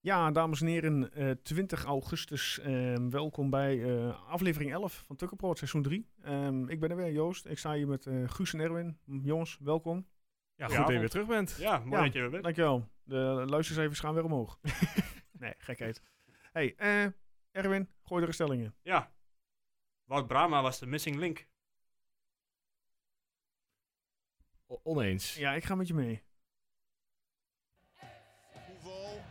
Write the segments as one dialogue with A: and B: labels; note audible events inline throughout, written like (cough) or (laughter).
A: Ja, dames en heren, eh, 20 augustus. ehm, welkom bij eh, aflevering 11 van Tukkenproot, seizoen 3. Ehm, ik ben er weer, Joost. Ik sta hier met eh, Guus en Erwin. Mm, Jongens, welkom.
B: Ja,
C: Ja,
B: goed dat je
C: want-
B: weer terug bent.
C: Ja, mooi
A: Ja.
C: dat je er bent.
A: Dankjewel. De luistercijfers gaan weer omhoog. (laughs) nee, gekheid. hey, eh, Erwin, gooi er een stelling in.
C: Ja. Wout Brama was de missing link.
B: O- Oneens.
A: Ja, ik ga met je mee.
D: Koevo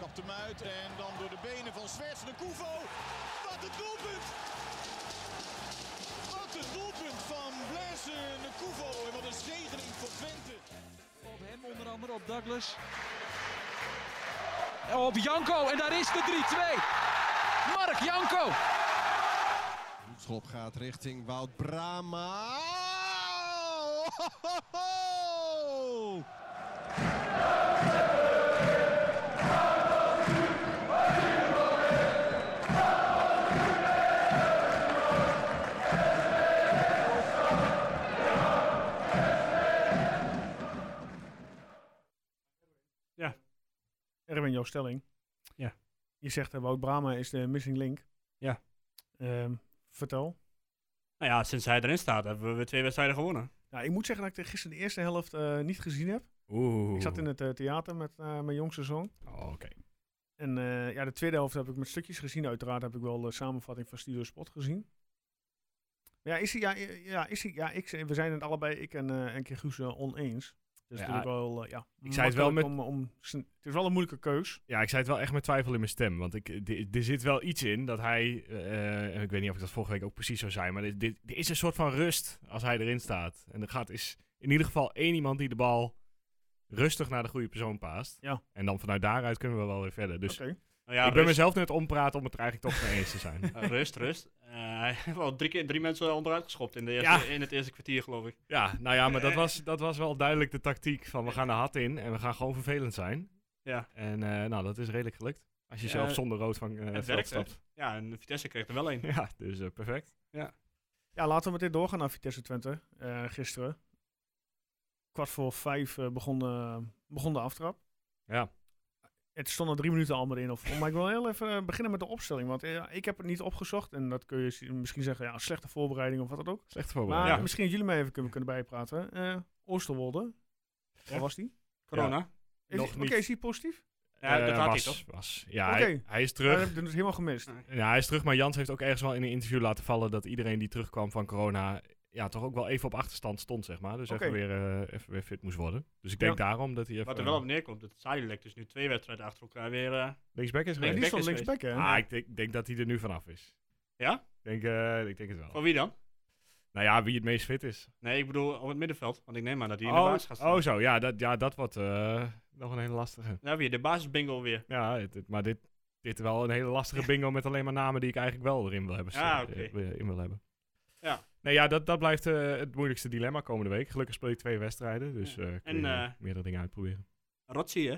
D: kapt hem uit en dan door de benen van Zwerts de Koevo. Wat een doelpunt! Wat een doelpunt van Blaise de Koevo en wat een zegening voor Twente.
E: Op hem onder andere, op Douglas. En Op Janko, en daar is de 3-2. Mark Janko.
F: Schop gaat richting Wout Brama.
A: Erwin, jouw stelling.
C: Ja.
A: Je zegt, eh, Wout Brama is de missing link.
C: Ja.
A: Ehm, vertel.
C: Nou ja, sinds hij erin staat hebben we weer twee wedstrijden gewonnen.
A: Nou, ik moet zeggen dat ik de- gisteren de eerste helft eh, niet gezien heb.
B: Oeh.
A: Ik zat in het eh, theater met eh, mijn jongste zoon.
B: Oh, Oké.
A: En eh, ja, de tweede helft heb ik met stukjes gezien. Uiteraard heb ik wel de samenvatting van Studio Spot gezien. Maar ja, is hij, ja, eh, ja, is hij, ja ik, we zijn het allebei, ik en, eh en keer Guus, eh, oneens. Dus
B: Ja,
A: natuurlijk wel, eh, ja,
B: ik zei het wel
A: makkelijk om, om sn- het is wel een moeilijke keus.
B: Ja, ik zei het wel echt met twijfel in mijn stem. Want ik, d- er zit wel iets in dat hij. eh, en ik weet niet of ik dat vorige week ook precies zou zijn. Maar dit- dit- er is een soort van rust als hij erin staat. En er gaat is in ieder geval één iemand die de bal rustig naar de goede persoon paast.
A: Ja.
B: En dan vanuit daaruit kunnen we wel weer verder. Dus
A: Oké.
C: Nou ja,
B: ik ben
C: rust,
B: mezelf net ompraten om het er eigenlijk toch mee eens te
A: (laughs)
B: zijn.
C: eh, rust, rust. Eh, hij heeft wel drie keer drie mensen onderuit geschopt in, de eerste,
B: Ja.
C: in het eerste kwartier, geloof ik.
B: Ja, nou ja, maar dat was, dat was wel duidelijk de tactiek van we gaan de hat in en we gaan gewoon vervelend zijn.
C: Ja.
B: En eh, nou, dat is redelijk gelukt. Als je
C: Ja,
B: zelf zonder rood van eh het veld
C: werkte.
B: stapt. (laughs)
C: Ja, en Vitesse kreeg er wel één.
B: Ja, dus eh, perfect.
A: Ja, laten we meteen doorgaan naar Vitesse Twente eh, gisteren. Kwart voor vijf eh, begon, de, begon de aftrap.
B: Ja.
A: Het stond al drie minuten al meteen of. Oh, Maar ik wil heel even eh, beginnen met de opstelling. Want eh, ik heb het niet opgezocht. En dat kun je si- misschien zeggen, ja, slechte voorbereiding of wat dan ook.
B: Slecht
A: Maar
B: voorbereiding.
A: misschien dat jullie mij even kunnen, kunnen bijpraten. Eh Oosterwolde. Waar was die?
C: Corona.
A: Is-
B: Nog
A: Oké,
B: niet.
A: is hij positief?
C: Ja,
B: Eh,
C: dat had
B: was,
C: ik toch?
B: Was. Ja,
A: Oké.
B: hij, hij is
A: Ja, dat
B: terug.
A: heb ik dus helemaal gemist.
B: Ja, hij is terug, maar Jans heeft ook ergens wel in een interview laten vallen dat iedereen die terugkwam van corona ja, toch ook wel even op achterstand stond, zeg maar. Dus
A: Oké.
B: even, weer, eh, even weer fit moest worden. Dus ik denk
A: Ja.
B: daarom dat hij even
C: Wat er wel op neerkomt, dat Sadilek dus nu twee wedstrijden achter elkaar weer... eh,
B: linksback is
A: En
B: geweest.
A: die
C: is
A: stond
C: geweest.
A: linksback, hè?
B: Ah, ik denk, denk dat hij er nu vanaf is.
C: Ja?
B: Ik denk, eh, ik denk het wel.
C: Van wie dan?
B: Nou ja, wie het meest fit is.
C: Nee, ik bedoel op het middenveld. Want ik neem aan dat hij in de
B: Oh,
C: basis gaat staan.
B: oh, zo. Ja, dat, ja, dat wordt eh, nog een hele lastige.
C: Nou, weer de basisbingo weer.
B: Ja, het- het- maar dit, dit wel een hele lastige bingo met alleen maar namen die ik eigenlijk wel erin wil hebben.
C: Ah,
B: staan,
C: oké.
B: eh, in wil hebben.
C: Ja.
B: Nee, ja, dat, dat blijft eh, het moeilijkste dilemma komende week. Gelukkig speel je twee wedstrijden, dus eh kun
C: En,
B: je
C: eh,
B: meerdere dingen uitproberen.
C: Rotsi, hè?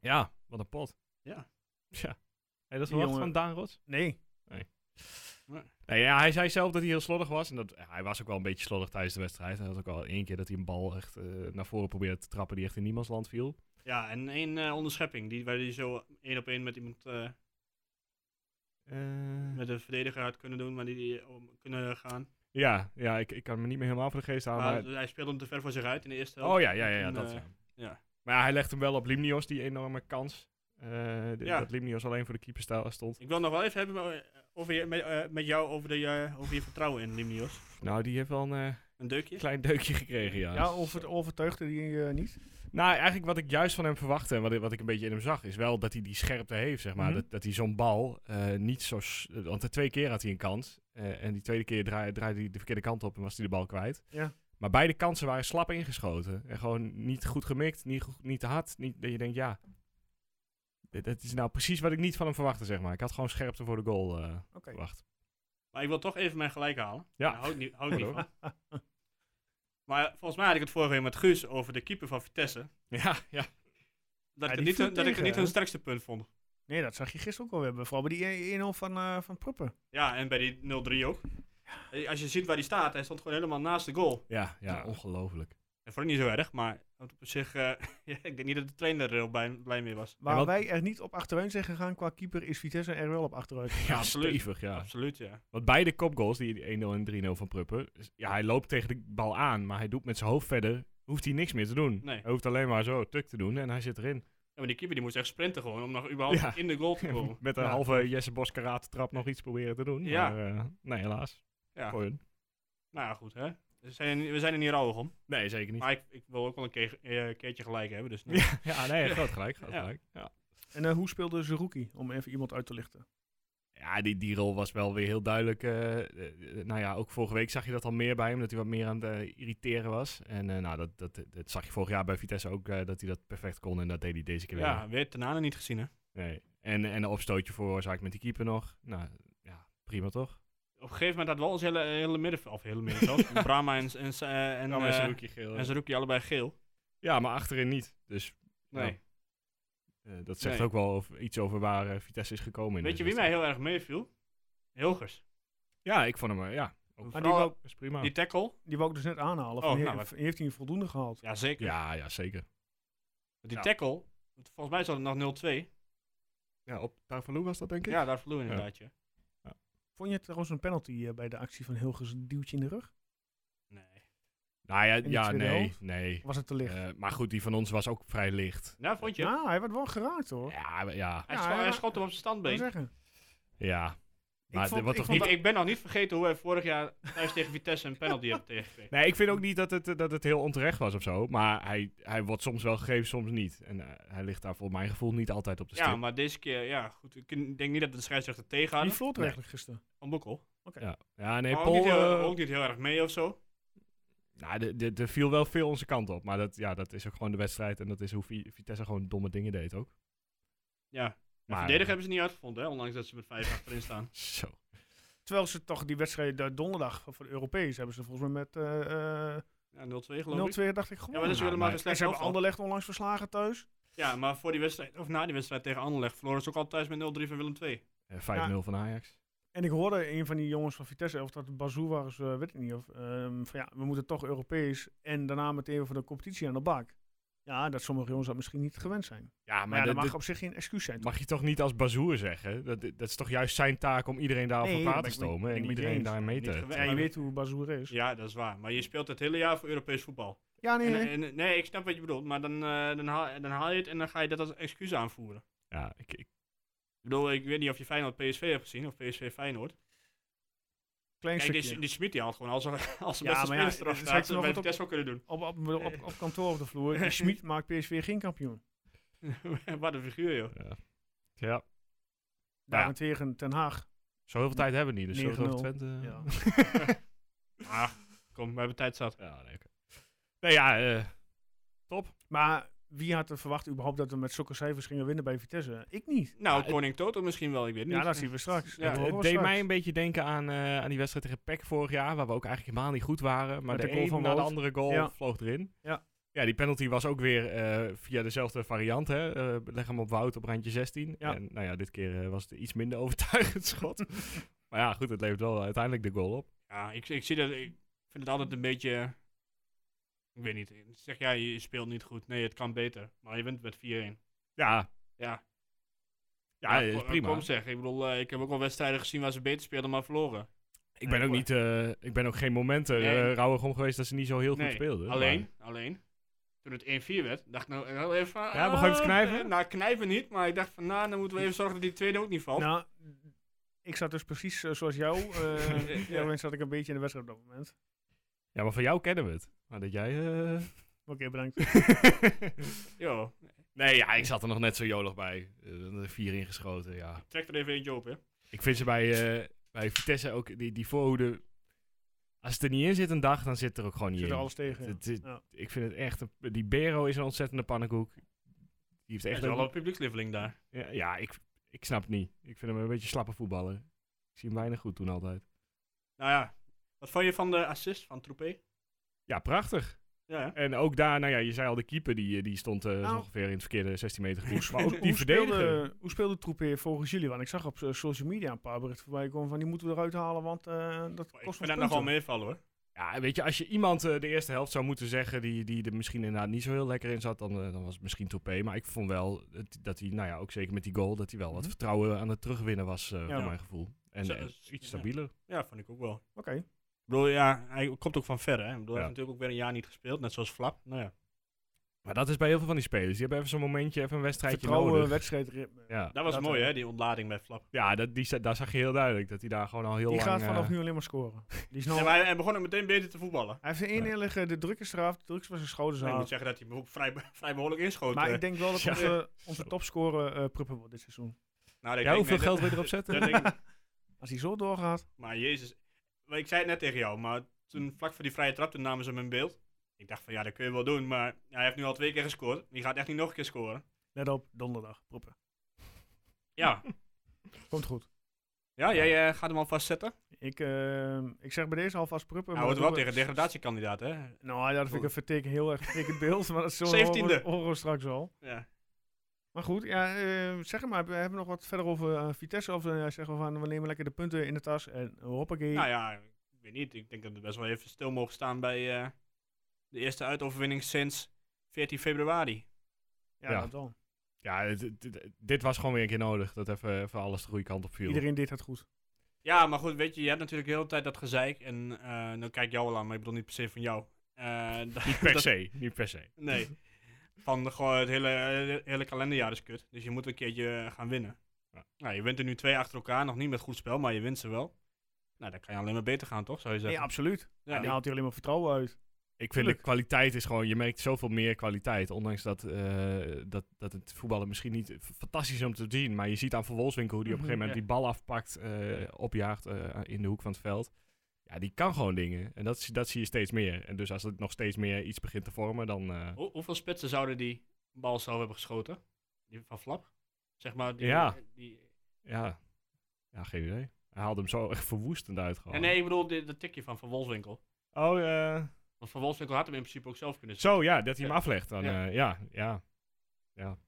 B: Ja, wat een pot.
C: Ja.
B: Ja. Hey, dat is
A: Die
B: wel wat
A: jongen-
B: van Daan Rots.
A: Nee.
B: Nee, ja, hij zei zelf dat hij heel slordig was. En dat, hij was ook wel een beetje slordig tijdens de wedstrijd. Hij had ook al één keer dat hij een bal echt eh, naar voren probeerde te trappen die echt in niemands land viel.
C: Ja, en één eh, onderschepping. Die, waar hij zo één op één met iemand eh,
B: Eh,
C: met een verdediger had kunnen doen, maar die, die om kunnen gaan.
B: Ja, ja ik, ik kan me niet meer helemaal voor de geest halen.
C: maar
B: Maar
C: hij speelde hem te ver voor zich uit in de eerste helft.
B: oh ja, ja, ja, ja,
C: En toen,
B: dat
C: eh,
B: ja.
C: ja.
B: Maar ja, hij legt hem wel op Limnios, die enorme kans. Eh, d-
C: Ja.
B: Dat Limnios alleen voor de keeper sta- stond.
C: Ik wil nog wel even hebben eh, over je, met, eh, met jou over, de, eh, over je vertrouwen in Limnios.
B: Nou, die heeft wel een eh,
C: Een deukje.
B: klein deukje gekregen, ja. dus-
A: Ja, over, overtuigde die eh, niet.
B: Nou, eigenlijk wat ik juist van hem verwachtte en wat, ik- wat ik een beetje in hem zag, is wel dat hij die scherpte heeft, zeg maar.
A: Mhm.
B: Dat, dat hij zo'n bal eh, niet zo... s- Want de twee keer had hij een kans. eh, en die tweede keer draai- draaide hij de verkeerde kant op en was hij de bal kwijt.
A: Ja.
B: Maar beide kansen waren slap ingeschoten. En gewoon niet goed gemikt, niet, goed- niet te hard. Niet, dat je denkt, ja, dit- dat is nou precies wat ik niet van hem verwachtte, zeg maar. Ik had gewoon scherpte voor de goal eh,
A: Oké.
B: verwacht.
C: Maar ik wil toch even mijn gelijk halen.
B: Ja.
C: Daar hou ik niet, hou ik niet
B: Goed
C: van. (laughs) Maar volgens mij had ik het vorige week met Guus over de keeper van Vitesse.
B: Ja, ja.
C: Dat,
A: Ja,
C: ik,
A: die
C: het niet,
A: viel
C: hun- dat ik
A: tegen,
C: het niet hun
A: hè?
C: sterkste punt vond.
A: Nee, dat zag je gisteren ook al hebben. Vooral bij die 1-0 van, eh van Pruppen.
C: Ja, en bij die 0-3 ook. Eh, Als je ziet waar hij staat, hij stond gewoon helemaal naast de goal.
B: Ja, ja,
C: Ja.
B: ongelooflijk.
C: Ik vond het niet zo erg, maar op zich, eh, (laughs) ja, ik denk niet dat de trainer er heel blij, blij mee was.
A: Waar
B: Ja, want-
A: wij er niet op achteruit zijn gegaan qua keeper, is Vitesse er wel op achteruit.
C: (laughs)
A: gegaan.
B: Ja,
C: absoluut.
B: stevig, ja.
C: Absoluut, ja.
B: Want beide kopgoals, die 1-0 en 3-0 van Pruppen, is- ja, hij loopt tegen de bal aan, maar hij doet met zijn hoofd verder, hoeft hij niks meer te doen.
C: Nee.
B: Hij hoeft alleen maar zo tuk te doen en hij
C: (laughs)
B: zit erin.
C: Ja, maar die keeper die moest echt sprinten gewoon om nog überhaupt
B: Ja.
C: in de goal
B: (laughs)
C: te komen.
B: Met een
A: Ja.
B: halve Jesse Bos karate trap nog iets proberen te doen.
C: Ja.
B: Maar, eh, nee, helaas.
C: Ja.
B: Voor hun.
C: Nou ja, goed hè. We zijn, er- we zijn er niet rouwig om.
B: Nee, zeker niet.
C: (laughs) Maar ik, ik wil ook wel een keer, eh, keertje gelijk hebben. Dus nee.
B: Ja, (laughs) ja, nee, groot gelijk. Groot
C: Ja.
B: gelijk. Ja.
A: En eh, hoe speelde Zerouki? Om even iemand uit te lichten.
B: Ja, die, die rol was wel weer heel duidelijk. eh, eh, eh, nou ja, ook vorige week zag je dat al meer bij hem, dat hij wat meer aan het eh, irriteren was. En eh, nou, dat, dat, dat zag je vorig jaar bij Vitesse ook, eh, dat hij dat perfect kon en dat deed hij deze keer
C: ja, weer Tenane niet gezien hè.
B: weer. Nee. En, en een opstootje veroorzaakt met die keeper nog. Nou, ja, prima toch?
C: Op een gegeven moment had wel ons hele, hele midden, of hele
B: (laughs)
C: middenveld, Brahma en, en, eh, en, eh, en Zerouki allebei geel.
B: Ja, maar achterin niet. Dus
C: Nee.
B: Ja. eh, dat zegt
C: Nee.
B: ook wel over- iets over waar eh, Vitesse is gekomen. in
C: Weet je
B: deze
C: wie mij
B: wedstrijd.
C: heel erg meeviel? Hilgers.
B: Ja, ik vond hem, eh, ja. Ook,
A: Maar
C: die
A: die
C: wel-
A: wou,
B: is prima.
C: Die tackle,
A: die wou ik dus net aanhalen. Van,
C: Oh,
A: he-
C: nou, wat-
A: heeft hij een voldoende gehad?
C: ja zeker.
B: Ja, ja, zeker.
C: Die
B: Ja.
C: tackle, want volgens mij zat het nog 0-2.
B: Ja, op Tavalou was dat denk ik.
C: Ja, daar verloor je inderdaad je.
A: Vond je het trouwens een penalty eh, bij de actie van Hilgers een duwtje in de rug?
C: Nee.
B: Nou ja,
A: de
B: ja
A: tweede
B: nee,
A: helft?
B: nee.
A: Of was het te licht?
B: Eh, maar goed, die van ons was ook vrij licht.
C: Nou, vond je?
A: Nou, hij werd wel geraakt hoor.
B: Ja, maar- ja,
C: Hij,
A: Ja,
C: scho-
A: hij
C: hij
A: wa-
C: schot hem op zijn
A: Ik
C: standbeen.
A: zeggen.
B: ja. Maar
A: vond-
B: er wordt
A: ik
B: toch
A: vond
C: Ik,
B: niet...
A: dat-
C: ik ben nog niet vergeten hoe wij vorig jaar thuis tegen Vitesse een penalty hebben tegengekregen.
B: Nee, ik vind ook niet dat het, eh, dat het heel onterecht was of zo. Maar hij, hij wordt soms wel gegeven, soms niet. En eh, hij ligt daar voor mijn gevoel niet altijd op de stip.
C: Ja, maar deze keer, ja, goed. Ik denk niet dat de scheidsrechter
A: Wie
C: tegenhouden.
A: floot er eigenlijk gisteren?
C: Van Boekel.
B: ja. ja, nee,
C: Maar ook,
B: Paul...
C: niet heel,
B: eh,
C: ook niet heel erg mee of zo.
B: nou, de- de- er viel wel veel onze kant op. Maar dat, ja, dat is ook gewoon de wedstrijd. En dat is hoe Vi- Vitesse gewoon domme dingen deed ook.
C: Ja. Maar
B: Maar- eh,
C: verdedigen hebben ze niet uitgevonden, hè? ondanks dat ze met vijf
B: (laughs)
C: achterin staan.
B: Zo.
A: Terwijl ze toch die wedstrijd eh, donderdag voor de Europees hebben ze volgens mij met eh, eh,
C: Ja, 0-2 geloof ik.
A: 0-2 dacht ik
C: Ja,
A: gewoon.
C: maar dat is
B: Nou,
C: helemaal
B: maar-
C: geen
A: en
C: slecht
A: ze hebben
C: elftal.
A: Anderlecht onlangs verslagen thuis.
C: Ja, maar voor die wedstrijd, of na die wedstrijd tegen Anderlecht, verloren ze ook al thuis met 0-3 van Willem II.
B: Eh, 5-0 van Ajax.
A: En ik hoorde een van die jongens van Vitesse, of dat Bazou was, eh, weet ik niet. Of, ehm, van ja, we moeten toch Europees en daarna meteen voor de competitie aan de bak. Ja, dat sommige jongens dat misschien niet gewend zijn. Maar,
B: Ja,
A: ja,
B: maar
A: dat
B: de-
A: mag
B: de-
A: op zich geen excuus zijn. toch?
B: mag je toch niet als bazoer zeggen? Dat, dat is toch juist zijn taak om iedereen daarop
A: Nee,
B: op elkaar
A: dat
B: te
A: ben ik met-
B: stomen
A: ben ik
B: en
A: met je
B: iedereen
A: eens.
B: daar mee
C: Niet
B: te
C: gewend.
A: Ja, je
C: maar-
A: weet hoe Bazou is. Ja,
C: Ja, dat is waar. Maar je speelt het hele jaar voor Europees voetbal.
A: nee, nee.
B: eh,
C: En, en- nee, ik snap wat je bedoelt, maar dan, eh, dan, haal, dan haal je het en dan ga je dat als excuus aanvoeren.
B: Ja, ik, ik,
C: Ik bedoel, ik weet niet of je Feyenoord PSV hebt gezien, of PSV Feyenoord.
A: klein
C: Kijk,
A: stukje.
C: die, die Smit die haalt gewoon als een (laughs) als
A: Ja,
C: beste
A: maar ja,
C: speler eraf
A: dat
C: staat.
A: zou
C: Dat
A: ik
C: bij
A: nog
C: Vitesse ook kunnen doen.
A: op, op, op, op, op kantoor op de
B: (laughs)
A: vloer. Die Schmid maakt PSV geen kampioen. (laughs)
C: wat een figuur, joh.
B: ja. eh, ja.
A: Daarentegen Ten Haag.
B: Zo heel veel tijd hebben we niet, dus zo
A: 9-0.
B: over Twente...
A: Ja.
C: Ah, kom, we hebben tijd zat.
B: Ja, nee, oké. Nee, ja, eh,
A: Maar wie had er verwacht überhaupt dat we met zulke cijfers gingen winnen bij Vitesse? Ik niet.
C: Nou,
B: Ja, het-
C: Koning Toto misschien wel, ik weet niet.
A: Ja, dat zien we straks.
C: Ja,
A: Dat horen we
B: het deed
A: straks.
B: mij een beetje denken aan, eh, aan die wedstrijd tegen PEC vorig jaar, waar we ook eigenlijk helemaal niet goed waren. Maar
A: Met
B: de,
A: de goal
B: een
A: van
B: na de
A: Wout.
B: andere goal
A: Ja.
B: vloog erin.
A: Ja.
B: ja, die penalty was ook weer eh, via dezelfde variant. Hè? Eh, leg hem op Wout op randje 16.
A: Ja.
B: En nou ja, dit keer eh, was het een iets minder (laughs) overtuigend
A: (laughs)
B: schot. maar ja, goed, het levert wel uiteindelijk de goal op.
C: Ja, ik, ik, zie dat, ik vind het altijd een beetje... Ik weet niet. Zeg jij, je speelt niet goed. Nee, het kan beter. Maar je wint met 4-1.
B: Ja,
C: Ja.
B: ja,
C: ko-
B: is
A: eh,
B: prima.
C: Kom zeg. Ik bedoel, eh, ik heb ook wel wedstrijden gezien waar ze beter speelden, maar verloren.
B: ik, ben ook niet, eh, ik ben ook geen momenten
C: Nee.
B: eh rauwig om geweest dat ze niet zo heel
C: Nee,
B: goed speelden.
C: Alleen, alleen. Toen het 1-4 werd, dacht ik nou heel even van...
B: Ja, begon je te
C: ah,
B: knijpen?
C: eh, Nou, knijpen niet, maar ik dacht van, nou, dan moeten we even zorgen dat die tweede ook niet valt.
A: Nou, ik zat dus precies eh, zoals jou.
C: (laughs)
A: eh ja, zat ik een beetje in de wedstrijd op dat moment.
B: Ja, maar van jou kennen we het. Maar dat jij... eh, (laughs)
A: Oké, bedankt.
C: Yo,
B: Nee, ja, ik zat er nog net zo jolig bij. Eh, er vier ingeschoten, ja.
C: trek er even eentje op, hè.
B: Ik vind ze bij, eh, bij Vitesse ook, die, die voorhoede... Als het er niet in zit een dag, dan zit er ook gewoon niet
A: Zit
B: in.
A: er alles tegen. ja.
B: Het- het-
A: Ja.
B: Ik vind het echt... een- die Bero is een ontzettende pannenkoek. Die heeft
C: Er is
B: echt...
C: wel
B: een-
C: een publiekslieveling daar.
B: ja, ja, ik, ik snap het niet. Ik vind hem een beetje slappe voetballer. Ik zie hem weinig goed doen altijd.
C: Nou ja, wat vond je van de assist van Troepé?
B: Ja, prachtig.
C: Ja, hè?
B: En ook daar, nou ja, je zei al, de keeper die, eh, die stond eh,
A: Nou.
B: zo ongeveer in het verkeerde 16 meter gebied. Maar
A: Hoe-
B: ook die
A: hoe,
B: verdediger.
A: speelde, hoe speelde Troepé volgens jullie? Want ik zag op eh, social media een paar berichten voorbij komen van die moeten we eruit halen, want eh, dat
C: Maar Ik
A: kost
C: vind
A: ons
C: dat nog wel
A: punten.
C: meevallen, hoor.
B: Ja, weet je, als je iemand eh, de eerste helft zou moeten zeggen die, die er misschien inderdaad niet zo heel lekker in zat, dan, eh, dan was het misschien Toupé. Maar ik vond wel dat- dat hij, nou ja, ook zeker met die goal, dat hij wel wat
A: Mhm.
B: vertrouwen aan het terugwinnen was, eh, voor
A: Ja.
B: mijn gevoel. En
C: Zo-
B: eh,
C: dus-
B: iets
C: ja.
B: stabieler.
C: Ja, vond ik ook wel.
A: Oké.
C: Ik bedoel, ja, hij komt ook van ver, hè. Ik bedoel, hij heeft
B: Ja.
C: natuurlijk ook weer een jaar niet gespeeld, net zoals Flap. Nou ja,
B: Maar dat is bij heel veel van die spelers. Die hebben even zo'n momentje, even een wedstrijdje
A: Vertrouwen,
B: nodig.
A: wedstrijdritme.
B: ja,
C: dat was
A: Dat,
C: mooi,
A: eh,
C: hè, die ontlading bij Flap.
B: ja dat, die, za- daar zag je heel duidelijk dat hij daar gewoon al heel
A: Die
B: lang...
A: gaat
B: eh,
A: vanaf nu alleen maar scoren. Die is nou,
C: Ja, maar hij, hij begon ook meteen beter te voetballen.
A: hij heeft een innerlijke, de druk is eraf, de druk is van zijn schouders
C: ik moet
A: af.
C: zeggen dat hij me ook vrij, be- vrij behoorlijk inschoot.
A: Maar
C: eh.
A: ik denk wel dat
B: Ja. (laughs)
A: onze, onze topscorer eh Pruppen wordt dit seizoen.
C: nou, ik
B: Ja,
C: denk-
B: hoeveel
C: nee,
B: geld
C: dat-
B: wil je erop
A: (laughs)
B: zetten?
C: dat denk ik-
A: Als hij zo doorgaat,
C: (laughs) maar jezus, maar ik zei het net tegen jou, maar toen vlak voor die vrije trap, toen namen ze hem in beeld. Ik dacht van, ja, dat kun je wel doen, maar hij heeft nu al twee keer gescoord. Die gaat echt niet nog een keer scoren.
A: let op, donderdag, Pruppen.
C: Ja,
A: Komt goed.
C: ja jij eh, gaat hem alvast zetten.
A: Ik, eh, ik zeg bij deze alvast Pruppen.
C: Hij
A: maar
C: wordt wel
A: Pruppen-
C: tegen degradatiekandidaat, hè.
A: Nou ja, dat vind ik een verteken, heel erg vertekend beeld, maar dat is zo'n
C: 17e.
A: horen- horen we straks al.
C: Ja.
A: Maar goed, ja, eh, zeg het maar, we hebben nog wat verder over eh, Vitesse. Of eh, zeggen we van, we nemen lekker de punten in de tas en hoppakee.
C: Nou ja, ik weet niet. Ik denk dat we best wel even stil mogen staan bij eh, de eerste uitoverwinning sinds 14 februari.
A: ja,
B: ja.
A: dat wel.
B: Ja, het- het- het- dit was gewoon weer een keer nodig. Dat even, even alles de goede kant op viel.
A: Iedereen deed het goed.
C: Ja, maar goed, weet je, je hebt natuurlijk de hele tijd dat gezeik. En eh, dan kijk ik jou al aan, maar ik bedoel niet per se van jou. Eh, (laughs) dat-
B: Niet per
C: dat-
B: se, niet per se.
C: Nee. (laughs) Van de- gewoon het hele, hele, hele kalenderjaar is kut. Dus je moet een keertje eh, gaan winnen.
B: Ja.
C: Nou, je wint er nu twee achter elkaar. Nog niet met goed spel, maar je wint ze wel. Nou, dan kan je alleen maar beter gaan, toch? Zou je
A: Ja,
C: zeggen?
A: absoluut.
C: Ja,
A: Ja,
C: die-
A: die haalt hij alleen maar vertrouwen uit.
B: Ik vind de
A: Tuurlijk.
B: kwaliteit is gewoon, je merkt zoveel meer kwaliteit. Ondanks dat, eh, dat, dat het voetballen misschien niet f- fantastisch is om te zien. Maar je ziet aan Van Wolfswinkel hoe die op een
A: Mhm,
B: gegeven moment die bal afpakt, eh, opjaagt eh, in de hoek van het veld. Ja, die kan gewoon dingen. En dat, zie- dat zie je steeds meer. En dus als het nog steeds meer iets begint te vormen, dan... eh,
C: Hoe- hoeveel spitsen zouden die bal zelf hebben geschoten? Die van Flap? Zeg maar, die,
B: Ja.
C: die,
B: ja. ja, geen idee. Hij haalde hem zo (laughs) echt verwoestend uit gewoon.
C: Ja, nee, ik bedoel dit- dat tikje van Van Wolfswinkel.
B: Oh, eh,
C: Want Van Wolfswinkel had hem in principe ook zelf kunnen zetten.
B: zo ja, dat hij hem
C: Ja.
B: aflegt. Dan,
C: Ja.
B: ja. ja, ja, ja.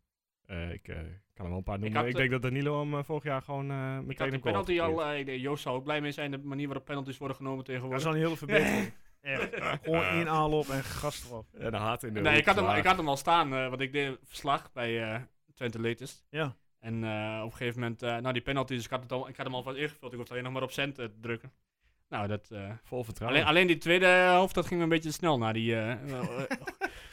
B: Eh, ik eh, kan hem wel een paar noemen. Ik,
C: had, eh,
B: denk dat Danilo hem eh, vorig jaar gewoon eh,
C: Ik had
B: meteen
C: de
B: op goal had
C: penalty
B: gekeerd.
C: al, eh, ik denk, Joost zou ook blij mee zijn de manier waarop penalties worden genomen
A: Dat is
C: tegenwoordig.
A: al een hele verbetering.
C: (laughs)
A: Echt.
B: (laughs)
A: Gewoon één aanloop en gas erop.
B: En een haat in de
C: eh, nee,
B: hoek
C: ik had, hem,
B: geslagen.
C: ik had hem al staan, eh, want ik deed een verslag bij eh Twente Latest.
A: Ja.
C: En eh, op een gegeven moment, eh nou die penalties, ik had, het al, ik had hem alvast ingevuld. Ik hoefde alleen nog maar op cent eh, te drukken. Nou, dat, eh,
B: Vol vertrouwen.
C: alleen, alleen die tweede helft, dat ging me een beetje snel naar die... eh, (laughs) wel, eh,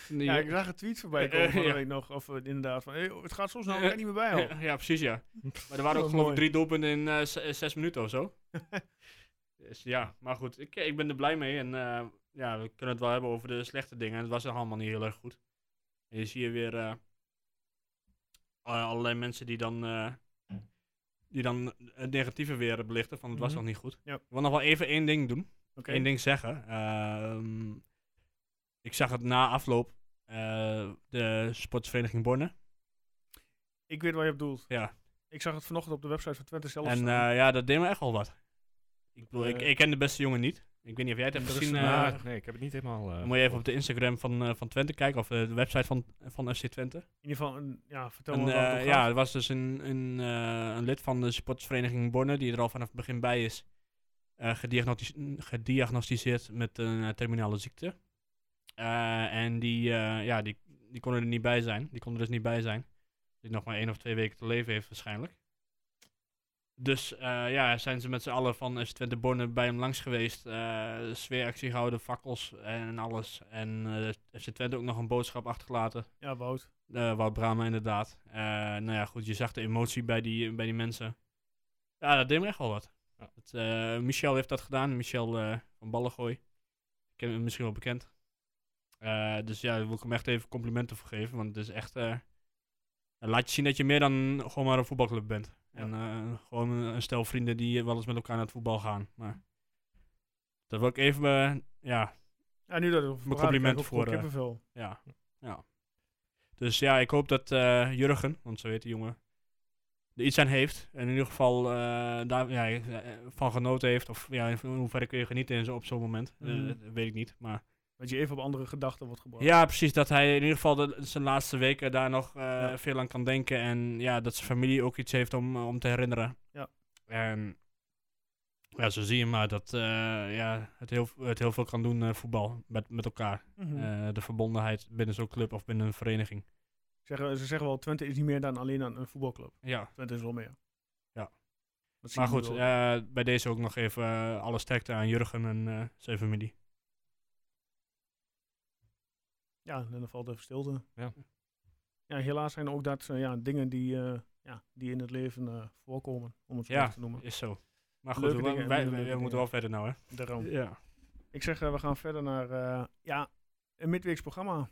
C: die-
A: Ja, ik zag een tweet voorbij komen van de
C: Ja.
A: week nog. Of eh, inderdaad, van, hey, het gaat zo snel, ik kan er niet meer bij houden.
C: Ja, ja, precies, ja. Maar er waren
A: Wel
C: ook geloof
A: Oh, mooi.
C: ik drie doelpunten in eh, z- eh, zes minuten of
A: (laughs)
C: zo. dus ja, maar goed, ik, ik ben er blij mee. En eh, ja, we kunnen het wel hebben over de slechte dingen. En het was er allemaal niet heel erg goed. En je ziet hier weer eh, a- allerlei mensen die dan, eh, die dan het negatieve weer belichten. Van het was
A: Mhm.
C: nog niet goed.
A: Ja.
C: Ik wil nog wel even één ding doen.
A: Oké.
C: Eén ding zeggen. Ehm, ik zag het na afloop. eh, de sportvereniging Borne.
A: Ik weet waar je op doelt.
C: Ja,
A: Ik zag het vanochtend op de website van Twente zelf
C: En
A: staan.
C: eh, ja, dat deed me echt wel wat. Ik, bedoel, ik,
A: Eh,
C: ik ken de beste jongen niet. Ik weet niet of jij het hebt
A: Er is
C: gezien.
A: een-
C: eh,
B: Maar, nee, ik heb het niet helemaal... eh,
C: dan moet je even op de Instagram van, eh, van Twente kijken. Of eh, de website van, van FC Twente.
A: in ieder geval, een, ja, vertel
C: En,
A: me wat
C: eh, ja, er was dus een, een, eh, een lid van de sportsvereniging Borne. Die er al vanaf het begin bij is. eh, gediagnosti- gediagnosticeerd met een eh, terminale ziekte. Eh, en die, eh, ja, die, die kon er niet bij zijn. Die kon er dus niet bij zijn. Die nog maar één of twee weken te leven heeft waarschijnlijk. Dus eh, ja, zijn ze met z'n allen van FC Twente Borne bij hem langs geweest. eh, sfeeractie gehouden, fakkels en alles. En eh FC Twente ook nog een boodschap achtergelaten.
A: ja, Wout.
C: Eh, Wout Brama inderdaad. Eh, nou ja, goed, je zag de emotie bij die, bij die mensen. Ja, dat deed me echt wel wat.
B: Ja.
C: Het, eh, Michel heeft dat gedaan. Michel eh, van Ballengooi. Ik ken hem misschien wel bekend. Eh, dus ja, daar wil ik hem echt even complimenten voor geven. Want het is echt... eh, laat je zien dat je meer dan gewoon maar een voetbalclub bent. En eh, gewoon een, een stel vrienden die wel eens met elkaar naar het voetbal gaan. Maar dat wil ik even... eh, ja,
A: Ja, nu dat we praten,
C: complimenten
A: krijg ik ook
C: voor,
A: gewoon
C: eh,
A: kippenvel.
C: ja, ja. Dus ja, ik hoop dat eh, Jurgen, want zo heet die jongen, er iets aan heeft. En in ieder geval eh, daar ja, eh, van genoten heeft. Of ja, in hoeverre kun je genieten in zo, op zo'n moment. Eh,
A: Mhm.
C: dat weet ik niet. Maar
A: Dat je even op andere gedachten wordt gebracht.
C: ja, precies. Dat hij in ieder geval de- zijn laatste weken daar nog eh, veel aan kan denken. eh, En ja, dat zijn familie ook iets heeft om, om te herinneren.
A: Ja.
C: En Ja, zo zie je maar dat eh, ja, het, heel, het heel veel kan doen, eh, voetbal, met, met elkaar.
A: Mhm.
C: Eh, de verbondenheid binnen zo'n club of binnen een vereniging.
A: Zeggen, ze zeggen wel, Twente is niet meer dan alleen een, een voetbalclub.
C: Ja,
A: Twente is wel meer.
C: Ja.
A: Dat zie
C: maar
A: je nu
C: goed,
A: wel.
C: eh, bij deze ook nog even eh, alle sterkte aan Jurgen en eh, zijn familie.
A: Ja, en dan valt even stilte.
B: Ja.
A: Ja, helaas zijn ook dat eh, ja, dingen die, eh, ja, die in het leven eh, voorkomen, om het zo
C: Ja.
A: maar te noemen.
C: Is zo. Maar goed,
A: Leuke
C: we,
A: dingen en
C: wij-
A: minder
C: wij-
A: leuke
C: we moeten wel verder nou, hè?
A: Daarom.
C: Ja.
A: Ik zeg, eh, we gaan verder naar eh, ja, een midweeks programma.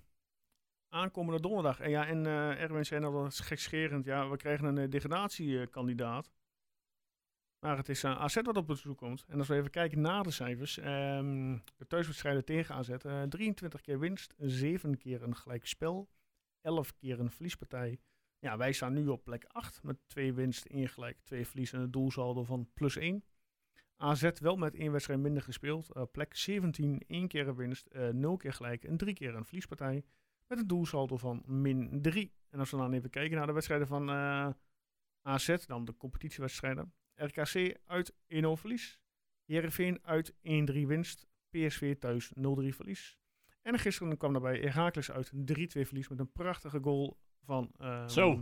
A: Aankomende donderdag. En ja, en eh Erwin zei net al, dat is gekscherend. Ja, we krijgen een eh, degradatiekandidaat. Maar het is eh, AZ wat op bezoek komt. En als we even kijken naar de cijfers. ehm, de thuiswedstrijden tegen AZ. eh, 23 keer winst, 7 keer een gelijk spel, 11 keer een verliespartij. Ja, wij staan nu op plek 8 met 2 winst, 1 gelijk, 2 verlies en een doelsaldo van plus 1. AZ wel met één wedstrijd minder gespeeld. Eh, plek 17, één keer een winst, eh, nul keer gelijk en drie keer een verliespartij. Met een doelsaldo van min 3. En als we dan even kijken naar de wedstrijden van eh, AZ, dan de competitiewedstrijden. RKC uit 1-0 verlies. Heerenveen uit 1-3 winst. PSV thuis 0-3 verlies. En gisteren kwam daarbij Heracles uit 3-2 verlies met een prachtige goal van... eh,
C: Zo.
A: Ik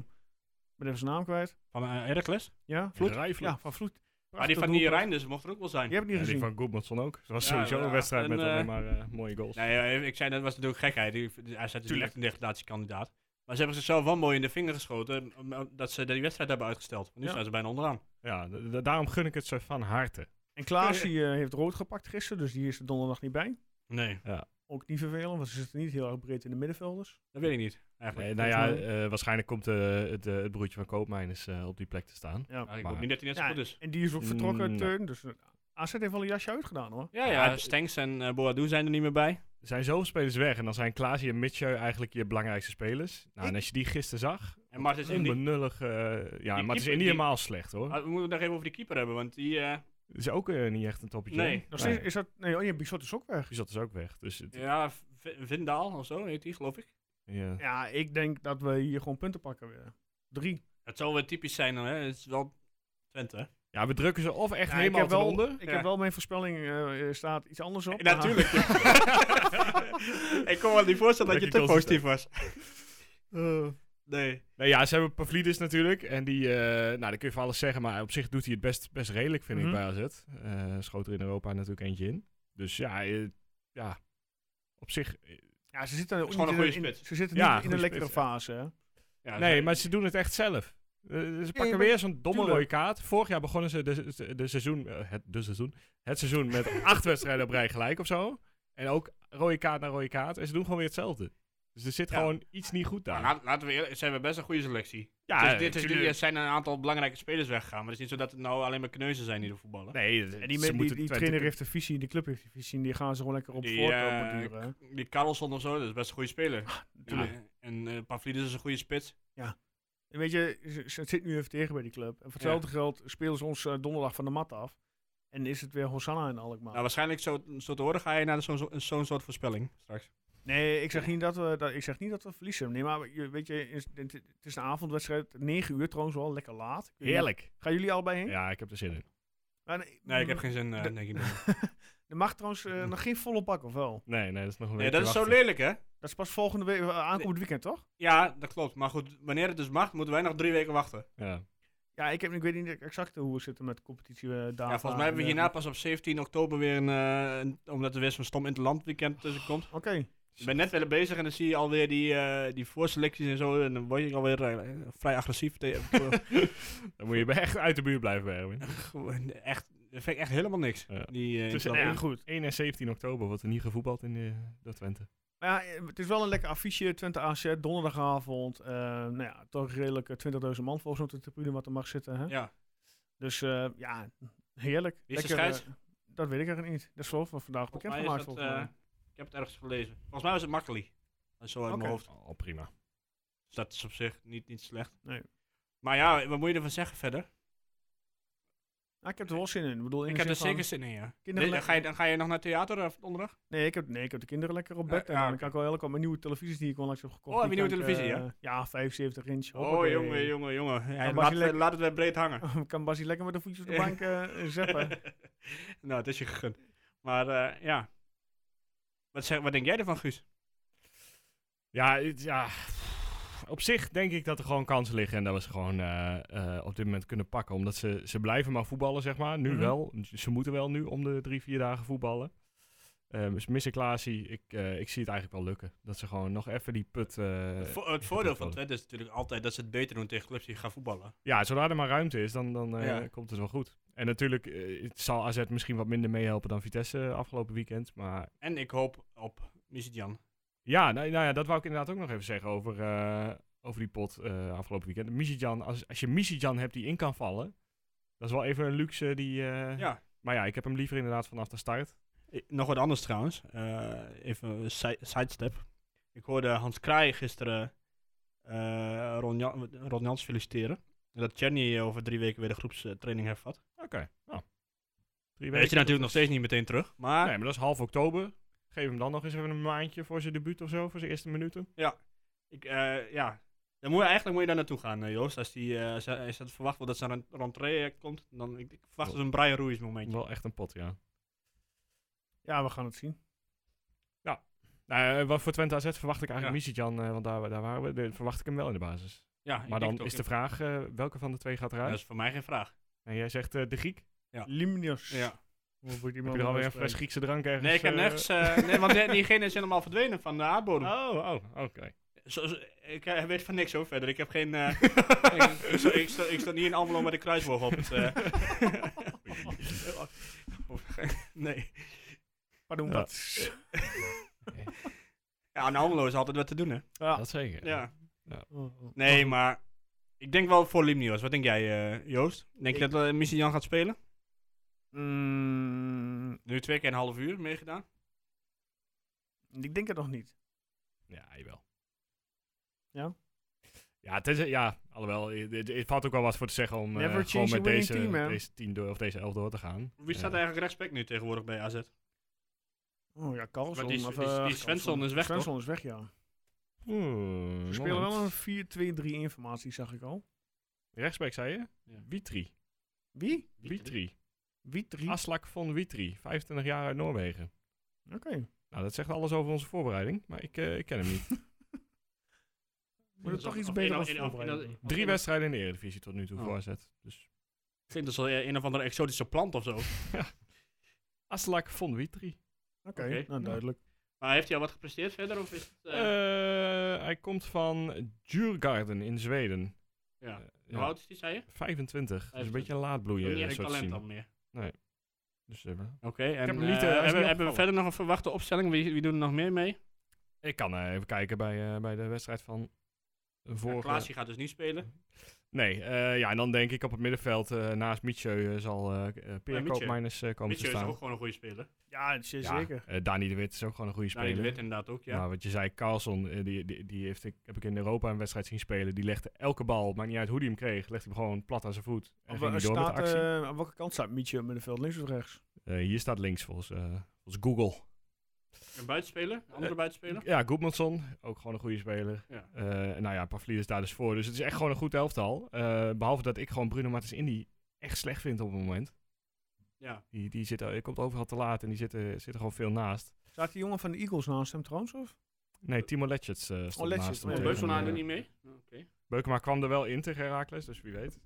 A: ben even zijn naam kwijt.
C: Van eh Heracles.
A: Ja,
B: Vloed?
A: ja van Vloed.
C: Maar Ah, die van die Rijn dus mocht er ook wel zijn.
A: Je hebt het
B: Ja,
A: niet
B: die
A: gezien.
B: van Goedmanson ook. Dat was
C: Ja,
B: sowieso
C: ja.
B: een wedstrijd
C: En,
B: met
C: eh,
B: alleen maar eh, mooie goals.
C: Nee, eh, ik zei dat was natuurlijk gekheid. Die- die- Hij zat natuurlijk
B: Tuurlijk.
C: echt een degradatiekandidaat. Maar ze hebben zichzelf wel mooi in de vinger geschoten eh, om- dat ze die wedstrijd hebben uitgesteld. Want nu
A: Ja.
C: staan ze bijna onderaan.
B: Ja, d- d- daarom gun ik het ze van harte.
A: En
C: (laughs)
A: Klaas die, eh, heeft rood gepakt gisteren, dus die is er donderdag niet bij.
C: Nee,
A: Ook niet vervelend, want ze zitten niet heel erg breed in de middenvelders.
C: dat weet ik niet. Eigenlijk.
B: Nee, nou ja,
A: volgens
B: eh, waarschijnlijk komt eh, het, eh, het broertje van Koopmijners eh, op die plek te staan.
A: Ja.
C: Maar ik
B: Maar-
C: hoop niet dat hij net zo
A: Ja,
C: goed Ah, dus. is.
A: En die is ook vertrokken,
B: Mm,
A: Teun. Dus eh, AZ heeft wel een jasje uitgedaan hoor.
C: Ja,
B: ja,
C: ja,
B: d-
C: Stengs en eh, Boadu zijn er niet meer bij.
B: Er zijn zoveel spelers weg en dan zijn Klaasje en Mitchell eigenlijk je belangrijkste spelers. Nou, en
A: Ik-
B: als je die gisteren zag,
C: En Martens en die...
B: onbenullig. eh, ja, maar het is
C: keeper,
B: niet
C: die-
B: helemaal slecht hoor.
C: Ah, we moeten het nog even over die keeper hebben, want die... eh,
B: Het is ook eh, niet echt een toppetje.
C: Nee.
B: hoor.
A: Nog steeds is dat. Nee, oh, je Bizot is ook weg.
B: Die zat dus ook weg. Dus het, ja.
C: ja, V- Vindaal of zo heet die, geloof ik.
A: Ja, ik denk dat we hier gewoon punten pakken weer. Drie.
C: Het zal weer typisch zijn, hè. Het is wel Twente, hè.
B: Ja, we drukken ze of echt
A: Ja, ik
B: helemaal
A: heb
B: ten
A: wel,
B: onder.
A: Ik
C: Ja.
A: heb wel mijn voorspelling, eh, eh, staat iets anders op. maar-
C: Ja, natuurlijk. (laughs) ik kon me niet voorstellen dat je
B: Dat je
C: te positief
B: consistent-
C: was.
B: Eh.
C: nee.
B: Nee, ja, ze hebben Pavlidis natuurlijk. En die, eh, nou, daar kun je van alles zeggen. Maar op zich doet hij het best, best redelijk, vind
A: Mhm.
B: ik, bij AZ. Eh, schoot er in Europa natuurlijk eentje in. Dus ja, eh, ja op zich... eh,
A: Ja, ze zitten ook
C: Gewoon
A: niet
C: een
A: in
C: goede
A: in-
C: spits.
A: Ze zitten
B: Ja,
A: niet
B: een
A: in een
B: goede
A: lekkere
B: spits, ja.
A: fase. hè.
C: Ja,
B: nee,
C: ze-
B: maar ze doen het echt zelf. Eh, ze pakken
A: maar-
B: weer zo'n domme
A: tuurlijk.
B: rode kaart. Vorig jaar begonnen ze de, de, de seizoen, eh, het, de seizoen, het seizoen
C: (laughs)
B: met acht wedstrijden op rij gelijk of zo. En ook rode kaart naar rode kaart. En ze doen gewoon weer hetzelfde. Dus er zit
C: Ja.
B: gewoon iets niet goed
C: Nou,
B: daar.
C: laat- laten we eerlijk zijn, we hebben best een goede selectie.
B: Ja,
C: Dus dit is,
B: tuurlijk.
C: er zijn een aantal belangrijke spelers weggegaan, maar het is niet zo dat het nou alleen maar kneuzen zijn die er voetballen.
B: Nee,
A: En die, die,
B: ze
A: die,
B: moeten
A: die
B: Twente-
A: trainer heeft de visie, die club heeft de visie. En die gaan ze gewoon lekker op
C: Die,
A: voort
C: eh,
A: eh, borduren, hè.
C: Die Karlsson of zo, dat is best een goede speler.
A: natuurlijk.
C: Ja, En eh Pavlidis is een goede spits.
A: En Weet je, ze- ze- het zit nu even tegen bij die club. En voor hetzelfde geld spelen ze ons eh, donderdag van de mat af. En is het weer Hosanna in Alkmaar.
C: Nou, waarschijnlijk zo, zo te horen ga je naar de- zo'n zo, zo'n soort voorspelling straks.
A: nee, ik zeg, niet dat we, dat, ik zeg niet dat we verliezen. Nee, maar je, weet je, is- het het is een avondwedstrijd. 9 uur trouwens wel, lekker laat. Ik weet niet-
B: Heerlijk.
A: Gaan jullie allebei heen?
B: Ja, ik heb er zin in.
A: Maar,
C: Nee, ik heb geen zin. eh,
A: De-
C: nee, ik niet.
A: Er mag trouwens
C: (laughs)
A: eh, nog geen volle bak, of wel?
B: Nee, nee, dat is nog een
C: nee,
B: weekje
C: dat is zo
B: wachten.
C: lelijk, hè?
A: Dat is pas volgende week, eh, aankomend weekend, toch?
C: Ja, dat klopt. Maar goed, wanneer het dus mag, moeten wij nog drie weken wachten.
B: Ja.
A: Ja, ik, heb, ik weet niet exact hoe we zitten met de competitie. eh, data
C: Ja, volgens mij hebben we
A: en, eh,
C: hierna pas op 17 oktober weer een, eh, een- omdat er weer zo'n stom interland weekend tussen komt.
A: eh, Oké.
C: Ik ben net weer bezig en dan zie je alweer die, eh, die voorselecties en zo. En dan word je alweer eh, vrij agressief. (laughs) tegen-
B: Dan moet je echt uit de buurt blijven, bij
C: (laughs)
B: Erwin.
C: Gewoon echt, dat vind ik echt helemaal niks.
B: Ja.
C: Die, eh,
B: Tussen
C: dat-
B: één-
A: Ja, goed.
B: 1 en 17 oktober wordt er niet gevoetbald in de, door Twente.
A: Maar ja, eh, het is wel een lekker affiche. Twente AZ, donderdagavond. Eh, nou ja, toch redelijk eh, 20.000 man volgens mij op de tribune wat er mag zitten. Hè?
C: ja.
A: Dus eh, ja, heerlijk.
C: Wie is de
A: Lekker,
C: scheids?
A: eh, dat weet ik eigenlijk niet. Dat is geloof ik wel vandaag
C: Volgens
A: bekend
C: mij
A: gemaakt.
C: is dat,
A: Volgens mij.
C: eh, ik heb het ergens gelezen. Volgens mij was het Makkeli. Dat is Zo uit
A: Oké.
C: mijn hoofd.
B: Al
A: Oh,
B: prima.
C: Dus dat is op zich niet, niet slecht.
A: Nee.
C: Maar ja, wat moet je ervan zeggen verder?
A: Ah, ik heb er wel zin in. Ik, bedoel, in
C: Ik
A: de
C: heb er
A: zin
C: zeker
A: van-
C: zin in, ja.
A: Kinderen-
C: Nee, dan ga, je, dan ga je nog naar theater eh, donderdag?
A: Nee ik, heb, nee, ik heb de kinderen lekker op
C: Ja,
A: bed. en
C: ja,
A: dan
C: oké.
A: kan ik wel heel lekker op mijn nieuwe televisies die ik onlangs heb gekocht.
C: Oh,
A: die
C: heb je
A: kan
C: nieuwe
A: ik,
C: televisie,
A: eh, Ja, 75 inch.
C: Oh,
A: hoppakee.
C: jongen, jongen, jongen. Hij
A: Dan mag
C: laat,
A: je lekker-
C: laat het weer breed hangen.
A: (laughs) kan Basie lekker met de voetjes op de
C: Ja.
A: bank eh
C: (laughs)
A: zeppen.
C: nou, het is je gegund. Maar eh, ja. Wat, zeg, wat denk jij ervan, Guus?
B: Ja, het- ja, op zich denk ik dat er gewoon kansen liggen en dat we ze gewoon eh, eh, op dit moment kunnen pakken. Omdat ze, ze blijven maar voetballen, zeg maar. Nu
A: Mhm.
B: wel. Ze moeten wel nu om de drie, vier dagen voetballen. Ehm, dus missen Klaasie, ik, eh, ik zie het eigenlijk wel lukken. Dat ze gewoon nog even die put... eh,
C: Vo- het voordeel
B: in gedrukt
C: van
B: worden.
C: Twente is natuurlijk altijd dat ze het beter doen tegen clubs die gaan voetballen.
B: Ja, zodra er maar ruimte is, dan, dan eh,
C: Ja.
B: komt het wel goed. En natuurlijk eh, het zal AZ misschien wat minder meehelpen dan Vitesse eh, afgelopen weekend. Maar
C: En ik hoop op Misitjan.
B: ja, nou, nou ja, dat wou ik inderdaad ook nog even zeggen over, eh, over die pot eh, afgelopen weekend. Misitjan, als, als je Misitjan hebt die in kan vallen, dat is wel even een luxe die... eh,
C: Ja.
B: Maar ja, ik heb hem liever inderdaad vanaf de start.
C: I- Eh, Nog wat anders trouwens. Eh, even een si- sidestep. Ik hoorde Hans Kraai gisteren eh, Ron, Jan, Ron Jans feliciteren. Dat Czerny over drie weken weer de groepstraining hervat.
B: Oké, nou. Drie
C: Weet je natuurlijk nog steeds niet meteen terug. Maar
B: Nee, maar dat is half oktober. Geef hem dan nog eens even een maandje voor zijn debuut of zo, voor zijn eerste minuten.
C: Ik, eh, ja. Dan moet je, eigenlijk moet je daar naartoe gaan, eh, Joost. Als, die, eh, als, als het verwacht wordt dat ze aan een rentree eh, komt, dan ik, ik verwacht
B: Oh.
C: dus een Brian Ruiz momentje.
B: Wel echt een pot, ja.
A: Ja, we gaan het zien.
B: Nou, eh, wat voor Twente AZ verwacht ik
C: Ja.
B: eigenlijk Misitjan, eh, want daar, daar waren we. de- verwacht ik hem wel in de basis.
C: Ja, ik
B: Maar
C: denk
B: dan
C: het
B: is
C: ook.
B: de vraag eh, welke van de twee gaat
C: Ja,
B: eruit.
C: Dat is voor mij geen vraag.
B: En jij zegt eh, de Griek.
C: Ja.
A: Limnius. Hoe wordt die
B: Heb
A: man nou
B: je er alweer een
A: uitspreken?
B: fles Griekse drank ergens?
C: Nee, ik heb
B: eh,
C: nergens... eh, nee, want die- diegene is helemaal verdwenen van de aardbodem.
B: Oh, oh, oké.
C: Zo- zo- ik eh, weet van niks hoor verder. Ik heb geen... eh,
A: (laughs)
C: ik, ik, sta- ik, sta, ik sta niet in Almelo met een kruisboog op het... eh. (laughs) nee.
A: (laughs) Pardon,
B: Ja.
A: wat.
C: Ja, in Almelo is altijd wat te doen hè.
A: Ja.
B: Dat zeker.
C: Ja.
A: Oh, oh.
C: Nee, maar ik denk wel voor Limnios. Wat denk jij, eh, Joost? Denk je
A: Ik-
C: dat eh Missie Jan gaat spelen?
A: Mm,
C: Nu twee keer een half uur meegedaan.
A: ik denk het nog niet.
B: Ja, jawel.
A: Ja?
B: Ja, tenzij, ja, alhoewel, eh, er er valt ook wel wat voor te zeggen om eh,
A: Never change
B: gewoon
A: a
B: met
A: winning
B: deze,
A: team, hè?
B: deze, tien door, of deze elf door te gaan. Eh,
C: Wie staat
B: Ja.
C: eigenlijk rechtsback nu tegenwoordig bij AZ?
A: Oh ja, Carlson.
C: Maar die-
A: of,
C: die- die
A: eh,
C: Svensson
A: Karlsson.
C: is weg, toch?
A: Svensson is weg, ja.
B: Oeh,
A: Ze spelen
B: moment.
A: wel een 4-2-3 informatie, zag ik al.
B: Rechtsback, zei je?
C: Ja.
B: Witri.
A: Wie?
B: Witri.
A: Wie 3? Oké.
B: Aslak van Witri, 25 jaar uit Noorwegen. Nou, dat zegt alles over onze voorbereiding, maar ik, eh, ik ken hem
A: (laughs)
B: niet.
A: Moet het toch
C: Of-
A: iets
C: of
A: beter
C: een-
A: als
C: een- of-
A: voorbereiden?
C: een- of-
B: Drie
C: een-
B: wedstrijden in de Eredivisie tot nu toe
C: Oh.
B: voor AZ. Dus
C: Ik vind dat zo eh, een of andere exotische plant of zo.
A: Oh.
B: (laughs) Aslak von Witri.
A: Oké,
C: Oké.
A: nou
B: Ja.
A: duidelijk.
C: Maar heeft hij al wat gepresteerd verder? Of is het, eh,
B: Eh, hij komt van Djurgarden in Zweden.
C: ja.
B: Eh, ja,
C: Hoe oud is die, zei je?
B: 25. Dat is een
C: 25.
B: beetje een laadbloeier.
C: Ook niet
B: eh,
C: echt
B: zo te zien.
C: talent dan meer.
B: Dus, eh,
C: Oké, en
B: hem niet, eh,
C: eh,
B: hij is
C: hebben,
B: niet
C: hebben we
B: opgevallen.
C: verder nog een verwachte opstelling? Wie, wie doen er nog meer mee?
B: ik kan eh, even kijken bij, eh, bij de wedstrijd van de
C: Ja,
B: vorige...
C: Klaas die gaat dus niet spelen.
B: nee, eh, ja, en dan denk ik op het middenveld eh, naast Mietje zal eh eh, Peer
C: Mietje.
B: Koopmeiners, eh, komen
C: Mitchell
B: te
C: is
B: staan.
C: ook gewoon een goede speler.
A: Ja, het is
B: Ja,
A: zeker.
B: eh, Dani de Wit is ook gewoon een goede
C: Nou,
B: speler.
C: die wit inderdaad ook, ja.
B: Nou, wat je zei, Carlson, eh, die, die, die heeft ik, heb ik in Europa een wedstrijd zien spelen. Die legde elke bal, maakt niet uit hoe die hem kreeg, legde hem gewoon plat aan zijn voet. En
A: Op,
B: ging
A: wel-
B: die door met de
A: staat,
B: actie.
A: eh, aan welke kant staat Mietje op middenveld? Links of rechts?
B: Eh, hier staat links volgens, eh, volgens Google.
C: Een buitenspeler? Een andere
B: Eh,
C: buitenspeler?
B: Ja, Goedmanson, ook gewoon een goede speler.
C: Ja.
B: Eh, nou ja, Pavlidis daar dus voor. Dus het is echt gewoon een goed elftal. Eh, behalve dat ik gewoon Bruno Martins Indy echt slecht vind op het moment.
C: ja.
B: Die, die, zit, eh, die komt overal te laat en die zit, er- zit er gewoon veel naast.
A: Staat die jongen van de Eagles naast hem trouwens? Of?
B: Nee, Timo Letchets eh stond
A: Letchets,
B: naast.
A: nee.
B: hem.
A: Beukema
C: Oh, Beukema
B: Eh,
C: doet niet mee?
B: Beukema kwam er wel in tegen Herakles, dus wie weet.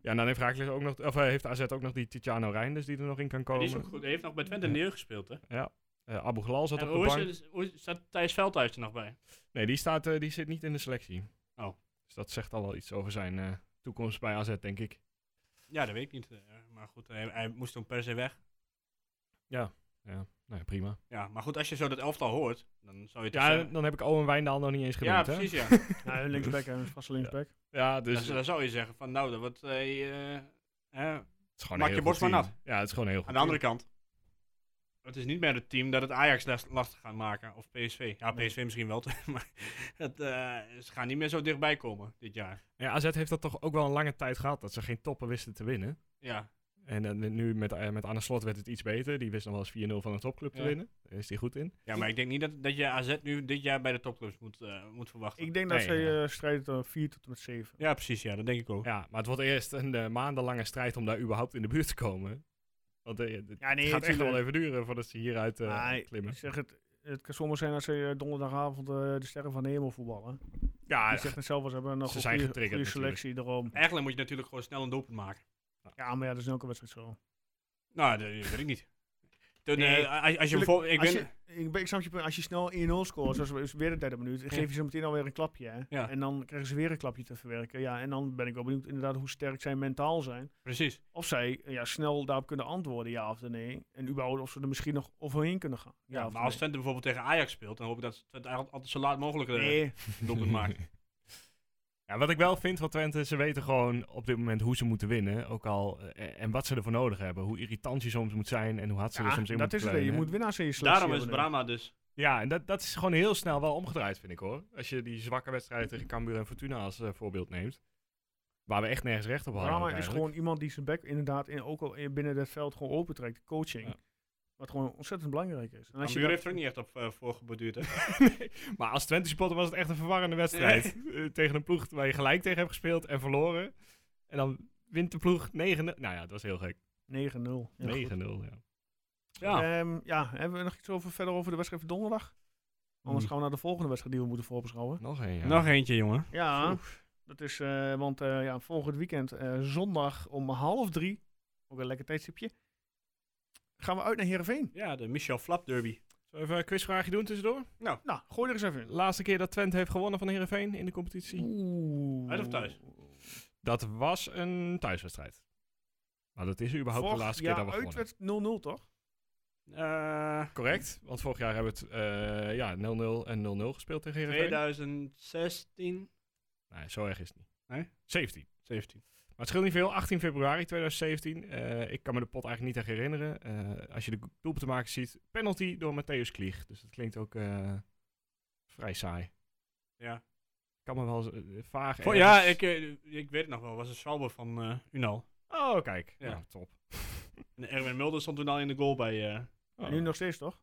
B: Ja, en dan heeft, Heracles ook nog, of, eh, heeft AZ ook nog die Titiano Reinders die er nog in kan
C: Die
B: komen.
C: is ook goed. Hij heeft nog bij Twente in de jeugd gespeeld, hè?
B: Eh, Abu Ghlal zat
C: En
B: op
C: hoe
B: de
C: is
B: bank.
C: het- hoe is- staat Thijs Veldhuis er nog bij?
B: Nee, die, staat, eh, die zit niet in de selectie.
C: Oh.
B: Dus dat zegt al wel iets over zijn eh, toekomst bij AZ, denk ik.
C: Ja, dat weet ik niet. eh, maar goed, hij, hij moest toen per se weg.
B: Ja, nou ja, prima.
C: Ja, maar goed, als je zo dat elftal hoort, dan zou je het
B: Ja,
C: zeggen-
B: dan heb ik Owen Wijndal nog niet eens
C: eh, ja,
B: genoemd, hè?
C: precies, ja.
A: (laughs) Ja, hun linksback, hè, hun vaste linksback.
B: Ja, dus
C: dan, zou- dan zou je zeggen van, nou, dat wordt... eh, eh, eh.
B: het is gewoon
C: maak
B: een
C: je
B: heel
C: borst
B: goed
C: maar
B: team. Ja, het is gewoon een heel goed
C: Aan de andere kant, het is niet meer het team dat het Ajax last- lastig gaat maken, of PSV. Ja,
A: Nee.
C: PSV misschien wel, (laughs) maar het, eh, ze gaan niet meer zo dichtbij komen dit jaar.
B: team. Ja, AZ heeft dat toch ook wel een lange tijd gehad, dat ze geen toppen wisten te winnen.
C: Ja,
B: En dan nu met, eh, met Arne Slot werd het iets beter. Die wist nog wel eens 4-0 van een topclub te
C: Ja.
B: winnen. Daar is hij goed in.
C: Ja, maar ik denk niet dat, dat je AZ nu dit jaar bij de topclubs moet, eh, moet verwachten.
A: Ik denk dat
B: Nee,
A: ze
B: ja.
A: eh, strijden tot 4 tot en met 7.
C: Ja, precies. Ja, dat denk ik ook.
B: Ja, maar het wordt eerst een eh, maandenlange strijd om daar überhaupt in de buurt te komen. Want eh, het
A: Ja, nee,
B: gaat echt nog
A: tuurlijk.
B: wel even duren voordat ze hieruit eh,
A: Maar
B: klimmen.
A: Ik zeg het, het kan soms zijn dat ze eh, donderdagavond eh, de sterren van de hemel voetballen.
B: Ja,
A: Die zegt het zelf, ze hebben nog
B: Ze
A: een
B: zijn
A: goede,
B: getriggerd
A: goede selectie erom.
C: Eigenlijk moet je natuurlijk gewoon snel een doelpunt maken.
A: Ja, maar ja, dat is in elke wedstrijd zo.
C: Nou, dat weet ik niet. Toen, eh,
A: Nee,
C: als- als, je
A: Tuurlijk,
C: bijvoorbeeld... Ik
A: als,
C: ben,
A: je, ik, ben- ik snap je punt. Als je snel 1-0 scoort, zoals we- is weer de derde minuut, dan geef je ze meteen alweer een klapje. Hè?
C: Ja.
A: En dan krijgen ze weer een klapje te verwerken. Ja, en dan ben ik wel benieuwd inderdaad hoe sterk zij mentaal zijn.
C: Precies.
A: Of zij eh, ja, snel daarop kunnen antwoorden, ja of nee. En überhaupt of ze er misschien nog overheen kunnen gaan. Ja,
C: Ja,
A: of
C: maar als
A: nee.
C: Twente bijvoorbeeld tegen Ajax speelt, dan hoop ik dat Twente eigenlijk altijd zo laat mogelijk een
A: Nee,
B: (laughs)
C: doelpunt
A: (laughs)
C: maakt.
B: Ja, wat ik wel vind van Twente, ze weten gewoon op dit moment hoe ze moeten winnen. Ook al, eh, en wat ze ervoor nodig hebben. Hoe irritant je soms moet zijn en hoe hard ze er
A: ja,
B: soms in
A: dat
B: moeten
A: is het. hè. Je
B: kleunen.
A: moet winnaars in je selectie
C: Daarom is
A: hebben, hè.
C: Brahma dus.
B: Ja, en dat, dat is gewoon heel snel wel omgedraaid, vind ik hoor. Als je die zwakke wedstrijden tegen Cambuur en Fortuna als eh, voorbeeld neemt. Waar we echt nergens recht op hadden.
A: Brahma
B: ook
A: is
B: eigenlijk.
A: gewoon iemand die zijn bek inderdaad in, ook al in- binnen dat veld gewoon opentrekt. Coaching.
B: Ja.
A: Wat gewoon ontzettend belangrijk is. En als je
C: Cambuur
A: dat-
C: heeft er ook niet echt op eh, voor geborduurd, hè?
B: (laughs) Maar als Twente supporter was het echt een verwarrende wedstrijd. Eh, tegen een ploeg waar je gelijk tegen hebt gespeeld en verloren. En dan wint de ploeg 9 Nou ja, het was heel gek.
A: 9-0. Ja,
B: 9-0,
A: goed.
B: ja.
C: Ja.
A: Ehm, ja, hebben we nog iets over, verder over de wedstrijd van donderdag? Anders
B: Hmm.
A: gaan we naar de volgende wedstrijd die we moeten voorbeschouwen.
B: Nog één, ja.
C: Nog eentje, jongen.
A: Ja, dat is, eh, want eh, ja, volgend weekend, eh, zondag om half drie, ook een lekker tijdstipje, gaan we uit naar Heerenveen.
C: Ja, de Michel Flap derby.
B: Zullen we even een quizvraagje doen tussendoor?
A: Nou, gooi er eens even in.
B: Laatste keer dat Twente heeft gewonnen van Heerenveen in de competitie.
A: Oeh.
C: Uit of thuis?
B: Dat was een thuiswedstrijd. Maar dat is überhaupt
A: Vorig
B: de laatste
A: jaar
B: keer dat we gewonnen
A: uit werd 0-0 toch?
C: Eh,
B: Correct, want vorig jaar hebben we het eh, ja, 0-0 en 0-0 gespeeld tegen Heerenveen.
C: 2016,
B: Nee, zo erg is het niet.
C: Nee?
B: 17.
C: 17.
B: Maar het scheelt niet veel. 18 februari 2017. Eh, ik kan me de pot eigenlijk niet echt herinneren. Eh, als je de doel te maken ziet, penalty door Matthäus Klieg. Dus dat klinkt ook eh, vrij saai.
C: Ja.
B: Ik kan me wel eh, vaag...
C: Voor- ja, ik, eh, ik weet het nog wel. was een zwalbe van eh, Unal.
B: Oh, kijk.
C: Ja.
B: Nou, top.
C: En Erwin Mulder stond toen al in de goal bij... eh,
B: Oh.
A: Nu nog steeds toch?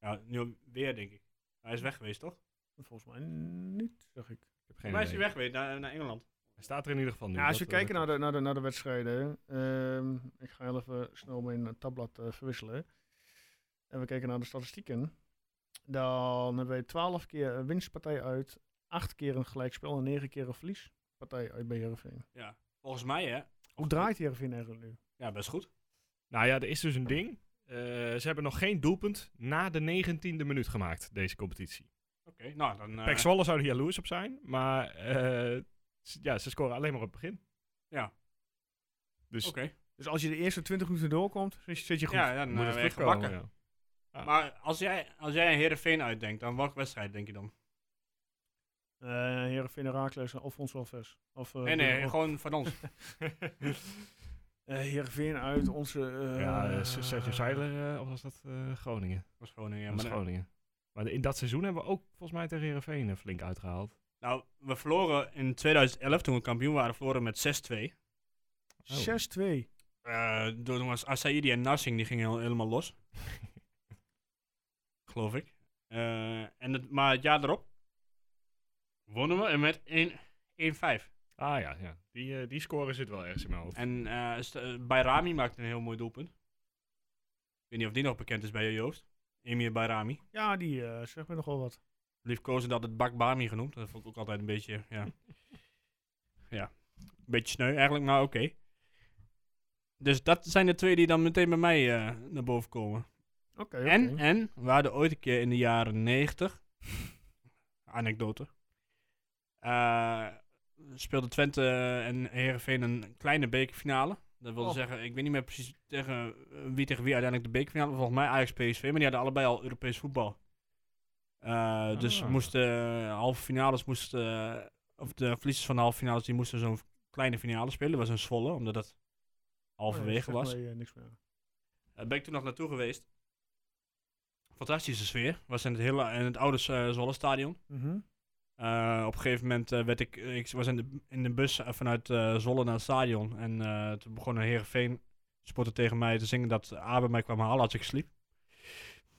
C: ja, nu weer, denk ik. Hij is weg geweest, toch?
A: Volgens mij niet, zeg ik.
B: Ik heb geen
C: Volgens mij is hij
B: idee.
C: weg geweest naar, naar Engeland.
B: Hij staat er in ieder geval nu.
A: Ja, als we
B: Dat,
A: kijken
B: eh,
A: naar de, naar, de, naar de wedstrijden. ehm, ik ga heel even snel mijn eh, tabblad eh, verwisselen. En we kijken naar de statistieken. Dan hebben wij 12 keer een winstpartij uit, 8 keer een gelijkspel en 9 keer een verliespartij uit bij Heerenveen.
C: Volgens mij, hè?
A: Hoe draait Heerenveen eigenlijk nu?
C: Ja, best goed.
B: Nou ja, er is dus een ding. Eh, ze hebben nog geen doelpunt na de 19e minuut gemaakt, deze competitie.
C: Oké, nou dan... eh,
B: Pek Zwolle zou er jaloers op zijn, maar eh, s- ja, ze scoren alleen maar op het begin.
C: Ja.
B: Dus
C: Oké.
A: Dus als je de eerste 20 minuten doorkomt, zit je- zit je goed.
C: Ja, ja, dan
B: moet
C: hebben
B: het
C: we
B: goed
C: echt
B: komen,
C: gebakken.
B: ja. ja.
C: Maar als jij, als jij een Heerenveen uitdenkt, dan welke wedstrijd denk je dan?
A: Eh Heerenveen Herakles of ons Alves. Of, eh
C: nee, nee,
A: Boerenhof.
C: gewoon van ons. (laughs)
A: Eh, Heerenveen uit onze... eh,
B: ja, eh, S- Sergio Seiler, eh, of was dat eh, Groningen?
C: Dat is gewoon een- ja,
B: Dat was
C: maar dan-
B: Groningen. Maar in dat seizoen hebben we ook volgens mij tegen Heerenveen eh, flink uitgehaald. (laughs)
C: Nou, we verloren in 2011, toen we kampioen waren, verloren met 6-2.
A: 6-2.
C: Eh toen was Asaidi en Narsing, die gingen heel- helemaal los. Geloof ik. Eh, en het, maar het jaar erop wonnen we en met 1 1-5.
B: Ah ja, ja. Die, eh, die score zit wel ergens in mijn hoofd.
C: En eh st- eh, Bayrami maakte een heel mooi doelpunt. Ik weet niet of die nog bekend is bij je, Joost. Emir Bayrami.
A: Ja, die eh zegt me nogal wat.
C: liefkozen dat het bakbami genoemd. Dat vond ik ook altijd een beetje, ja. ja, een beetje sneu eigenlijk, maar oké. Dus dat zijn de twee die dan meteen bij mij eh, naar boven komen.
A: Oké,
C: En,
A: oké.
C: en, we hadden ooit een keer in de jaren 90, (laughs) anekdote, eh, speelde Twente en Heerenveen een kleine bekerfinale. Dat wilde
A: Oh.
C: zeggen, ik weet niet meer precies tegen eh, wie tegen wie uiteindelijk de bekerfinale, volgens mij Ajax PSV, maar die hadden allebei al Europees voetbal. Eh, Dus
B: Ah.
C: moesten eh, halve finales moesten, eh, of de verliezers van de halve finales, die moesten zo'n kleine finale spelen. Dat was een Zwolle, omdat
A: Oh
C: dat
A: Nee,
C: halverwege
A: zegt
C: was.
A: mij, eh, niks meer.
C: Daar Eh, ben ik toen nog naartoe geweest. Fantastische sfeer. Was in het, hele, in het oude eh, Zwolle stadion.
A: Mhm.
C: Eh, op een gegeven moment eh, werd ik, ik was in de, in de bus eh, vanuit eh, Zwolle naar het stadion. En eh, toen begon een Heerenveen sportte tegen mij te zingen dat Abe mij kwam halen als ik sliep.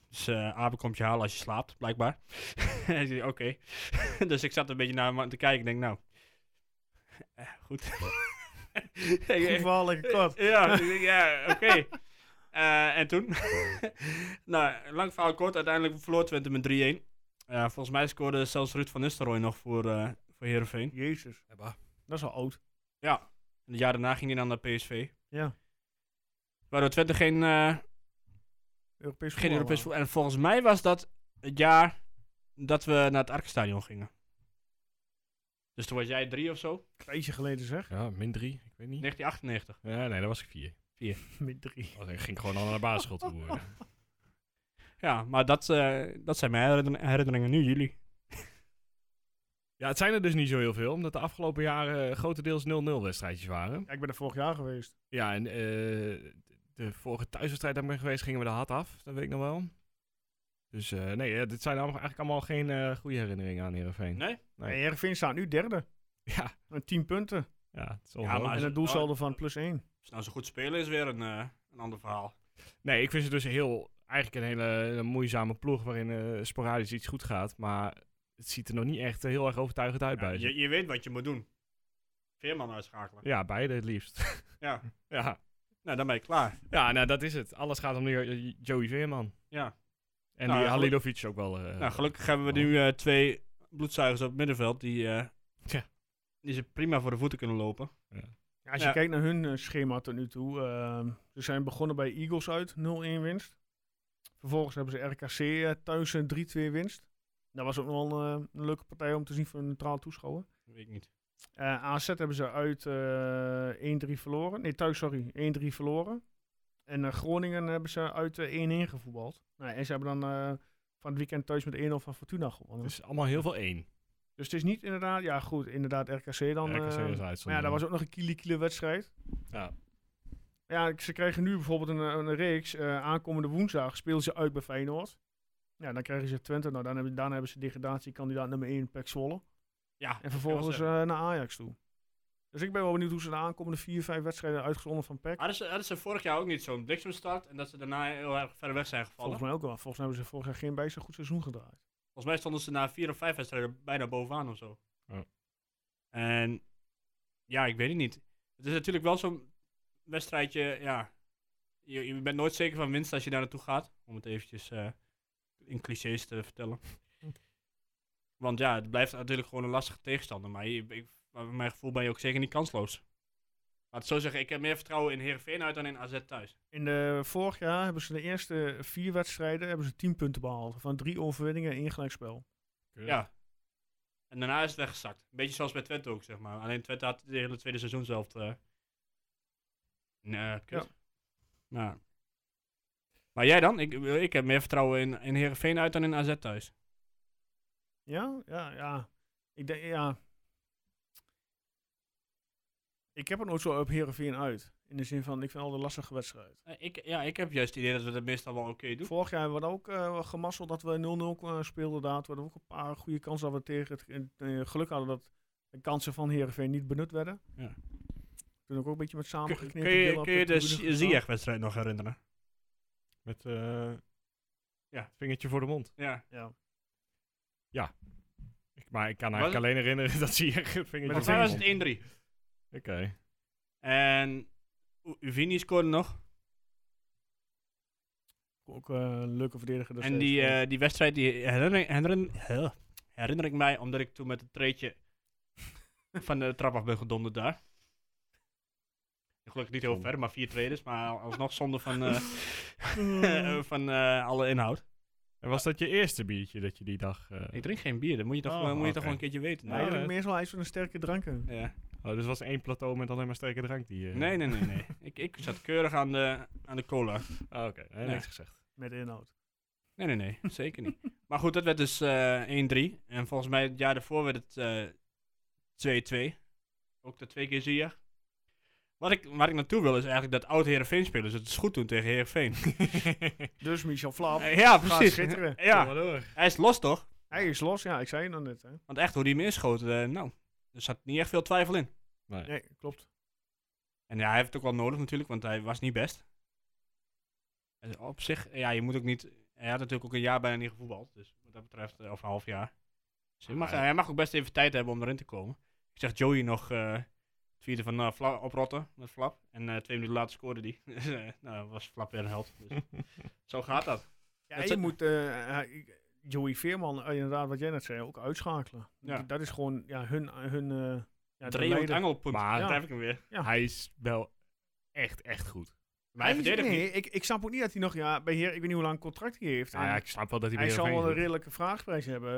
C: Dus eh Abe komt je halen als je slaapt, blijkbaar. (laughs) en ik zei, oké. (laughs) dus ik zat een beetje naar hem te kijken. Ik denk, nou, eh, goed. (laughs) Ik-
A: Goed
C: ik-
A: verhaal, lekker
C: (laughs)
A: kort.
C: ja, ik denk, ja oké. Eh, en toen? (laughs) nou, lang verhaal kort. Uiteindelijk verloor Twente met 3-1. Eh, volgens mij scoorde zelfs Ruud van Nistelrooy nog voor, eh voor Heerenveen.
A: Jezus, dat is al oud.
C: En het jaar daarna ging hij dan naar PSV.
A: Ja.
C: Waardoor Twente geen, eh,
A: Europees
C: geen
A: voetbal,
C: Europees
A: eh.
C: voetbal... En volgens mij was dat het jaar dat we naar het Arkstadion gingen. Dus toen was jij drie of zo?
A: Een tijdje geleden
C: (laughs)
A: zeg.
B: Ja, min drie. Ik weet niet.
C: 1998.
B: Ja, nee, dat was ik vier.
A: Met drie.
B: Want ik ging gewoon al naar de basisschool toe. hoor.
C: Ja, maar dat, eh, dat zijn mijn herinner- herinneringen. Nu jullie.
B: Ja, het zijn er dus niet zo heel veel, omdat de afgelopen jaren eh, grotendeels 0-0 wedstrijdjes waren.
A: Ja, ik ben er vorig jaar geweest.
B: Ja, en eh, de vorige thuiswedstrijd daar ben ik geweest, gingen we de hat af. Dat weet ik nog wel. Dus eh, nee, eh, dit zijn allemaal, eigenlijk allemaal geen eh, goede herinneringen aan Heerenveen.
C: Nee?
A: Nee. En Heerenveen staat nu derde.
B: Ja,
A: Met tien punten.
B: ja, het is
C: maar
B: ongelooflijk.
A: en
C: het-
A: het doelsaldo van plus één.
C: Als nou zo goed spelen is weer een, eh, een ander verhaal.
B: Nee, ik vind ze dus heel, eigenlijk een hele, hele moeizame ploeg waarin eh, sporadisch iets goed gaat. Maar het ziet er nog niet echt eh, heel erg overtuigend uit bij ze.
C: je, je weet wat je moet doen. Veerman uitschakelen.
B: Ja, beide het liefst.
C: Ja.
B: (laughs) ja.
C: Nou, dan ben je klaar.
B: ja, nou dat is het. Alles gaat om die, eh, Joey Veerman.
C: Ja.
B: En
C: Nou,
B: die
C: ja,
B: Halilovic ook wel. eh,
C: nou, gelukkig hebben we nu eh, twee bloedzuigers op het middenveld die, eh,
B: Tja.
C: die ze prima voor de voeten kunnen lopen.
A: Ja, als je
C: Ja.
A: kijkt naar hun eh, schema tot nu toe. ehm, ze zijn begonnen bij Eagles uit, 0-1 winst. Vervolgens hebben ze RKC eh, thuis een 3-2 winst. Dat was ook nog wel eh, een leuke partij om te zien voor een neutraal toeschouwer.
C: Weet ik niet.
A: Eh, AZ hebben ze uit eh 1-3 verloren. Nee, thuis, sorry. 1-3 verloren. En eh, Groningen hebben ze uit eh, 1-1 gevoetbald. Nou, en ze hebben dan eh, van het weekend thuis met 1-0 van Fortuna gewonnen.
B: Het
A: Dus,
B: is allemaal heel veel één.
A: het is niet inderdaad... Ja, goed. Inderdaad, RKC dan.
B: RKC was
A: eh,
B: uitzondering.
A: maar ja, dat was ook nog een kiele-kiele wedstrijd.
B: Ja.
A: Ja, ik- ze krijgen nu bijvoorbeeld een, een reeks. eh, aankomende woensdag spelen ze uit bij Feyenoord. Ja, dan krijgen ze Twente. Nou, dan hebben, daarna hebben ze degradatiekandidaat nummer 1, Pek Zwolle.
C: Ja,
A: En vervolgens
C: Ja,
A: eh, naar Ajax toe. Dus ik ben wel benieuwd hoe ze de aankomende vier, vijf wedstrijden uitgezonden van PEC.
C: eh, hadden, ze, hadden ze vorig jaar ook niet zo'n bliksemstart en dat ze daarna heel erg ver weg zijn
A: Volgens
C: gevallen. Volgens
A: mij ook wel. Volgens mij hebben ze vorig jaar geen bij zo'n goed seizoen gedraaid.
C: mij, stonden ze na vier of vijf wedstrijden bijna bovenaan of zo.
B: Ja.
C: En ja, ik weet het niet. Het is natuurlijk wel zo'n wedstrijdje, ja. Je, je bent nooit zeker van winst als je daar naartoe gaat. Om het eventjes eh, in clichés te vertellen. Want ja, het blijft natuurlijk gewoon een lastige tegenstander. Maar je, ik, maar bij mijn gevoel ben je ook zeker niet kansloos. Laat het zo zeggen, ik heb meer vertrouwen in Heerenveen uit dan in AZ thuis.
A: In de, vorig jaar hebben ze de eerste vier wedstrijden hebben ze tien punten behaald. Van drie overwinningen en één gelijkspel.
C: Ja. En daarna is het weggezakt. Een beetje zoals bij Twente ook, zeg maar. Alleen Twente had de hele tweede seizoen zelf. eh, Nee, eh, kut. Nou. Maar jij dan? Ik, ik heb meer vertrouwen in, in Heerenveen uit dan in AZ thuis.
A: Ja, ja, ja. Ik denk, ja. Ik heb het nooit zo op Heerenveen uit. In de zin van, ik vind al de lastige wedstrijd.
C: Eh, Ik, ja, ik heb juist het idee dat we dat meestal wel oké doen.
A: Vorig jaar hebben we ook eh gemasseld dat we 0-0 k- speelden. Daar hadden we ook een paar goede kansen dat we tegen het eh, geluk hadden dat de kansen van Heerenveen niet benut werden.
C: Ja.
A: Toen ook een beetje met
C: Kun,
A: samengeknepen
C: kun je,
A: billen op
C: kun je de
A: tribune gestaan.
C: Ziyech-wedstrijd nog herinneren?
B: Met eh
C: Ja.
B: vingertje voor de mond.
C: Ja.
A: Ja.
B: Ik, maar ik kan
C: Was
B: eigenlijk alleen herinneren (laughs) dat zie je het vingertje
C: Volgens
B: voor
C: mij
B: de
C: was
B: mond.
C: het 1-3.
B: Oké.
C: En U- Uvini scoorde nog.
A: Ook eh, een leuke verdediger. dus
C: en
A: steeds.
C: die, eh, die wedstrijd die herinner, herinner, huh, herinner ik mij omdat ik toen met het treetje van de trap af ben gedonderd daar. Gelukkig niet heel ver, maar vier treders. Maar alsnog zonde van, eh, (laughs) van eh, alle inhoud.
B: En was dat je eerste biertje dat je die dag... eh,
C: Ik drink geen bier, dat moet je toch,
B: Oh,
C: moet je
B: oké.
C: toch wel een keertje weten.
A: Nee,
B: Ja,
A: ik
B: dat-
A: denk meestal hij is van een sterke dranken.
C: Ja.
B: oh, dus was één plateau met alleen maar sterke drank die... eh,
C: nee, nee, nee. nee. ik, ik zat keurig aan de, aan de cola.
B: Ah, Oké, nee,
C: Nee.
B: niks gezegd.
A: Met inhoud.
C: Nee, nee, nee. Zeker niet. (laughs) Maar goed, dat werd dus eh 1-3. En volgens mij het jaar daarvoor werd het eh 2-2. Ook dat twee keer zie je. Wat ik, waar ik naartoe wil is eigenlijk dat oud Heerenveen spelers het dus goed doen tegen Heerenveen.
A: Dus Michel Flap.
C: Eh, ja,
A: gaat
C: precies.
A: schitteren.
B: Kom
C: Ja,
B: maar door.
C: hij is los toch?
A: Hij is los, ja, ik zei het dan net. Hè.
C: nou, Want echt hoe die hem inschoten, eh, nou, er zat niet echt veel twijfel in.
B: Nee.
A: Nee, klopt.
C: En ja, hij heeft het ook wel nodig natuurlijk, want hij was niet best. En op zich, ja, je moet ook niet... Hij had natuurlijk ook een jaar bijna niet gevoetbald, dus wat dat betreft, eh, of een half jaar. Dus hij mag,
B: Ah, ja.
C: hij mag ook best even tijd hebben om erin te komen. Ik zeg Joey nog eh tweede van eh, Fla- oprotten met Flap. En eh, twee minuten later scoorde die. (laughs) Dus, eh, nou, was Flap weer een held. (laughs) Dus. Zo gaat dat.
A: Ja,
C: Dat
A: je
C: zijn-
A: moet eh, eh, Joey Veerman, eh, inderdaad wat jij net zei, ook uitschakelen.
C: Ja.
A: Dat is gewoon ja, hun... hun eh ja, de
C: Dreeuwend
A: leider.
C: angelpunt.
B: Maar-
C: daar
A: Ja.
C: heb ik hem weer.
A: Ja.
B: Hij is wel echt, echt goed.
C: Maar hij
A: Hij-
C: verdedigt
A: nee,
C: niet.
A: Ik, ik snap ook niet dat hij nog, ja, bij Heer, ik weet niet hoe lang contract hij heeft.
B: Nou
A: En
B: ja, ik snap wel dat hij
A: hij
B: bij
A: zal wel een
B: Heerenveen... zit.
A: redelijke vraagprijs hebben.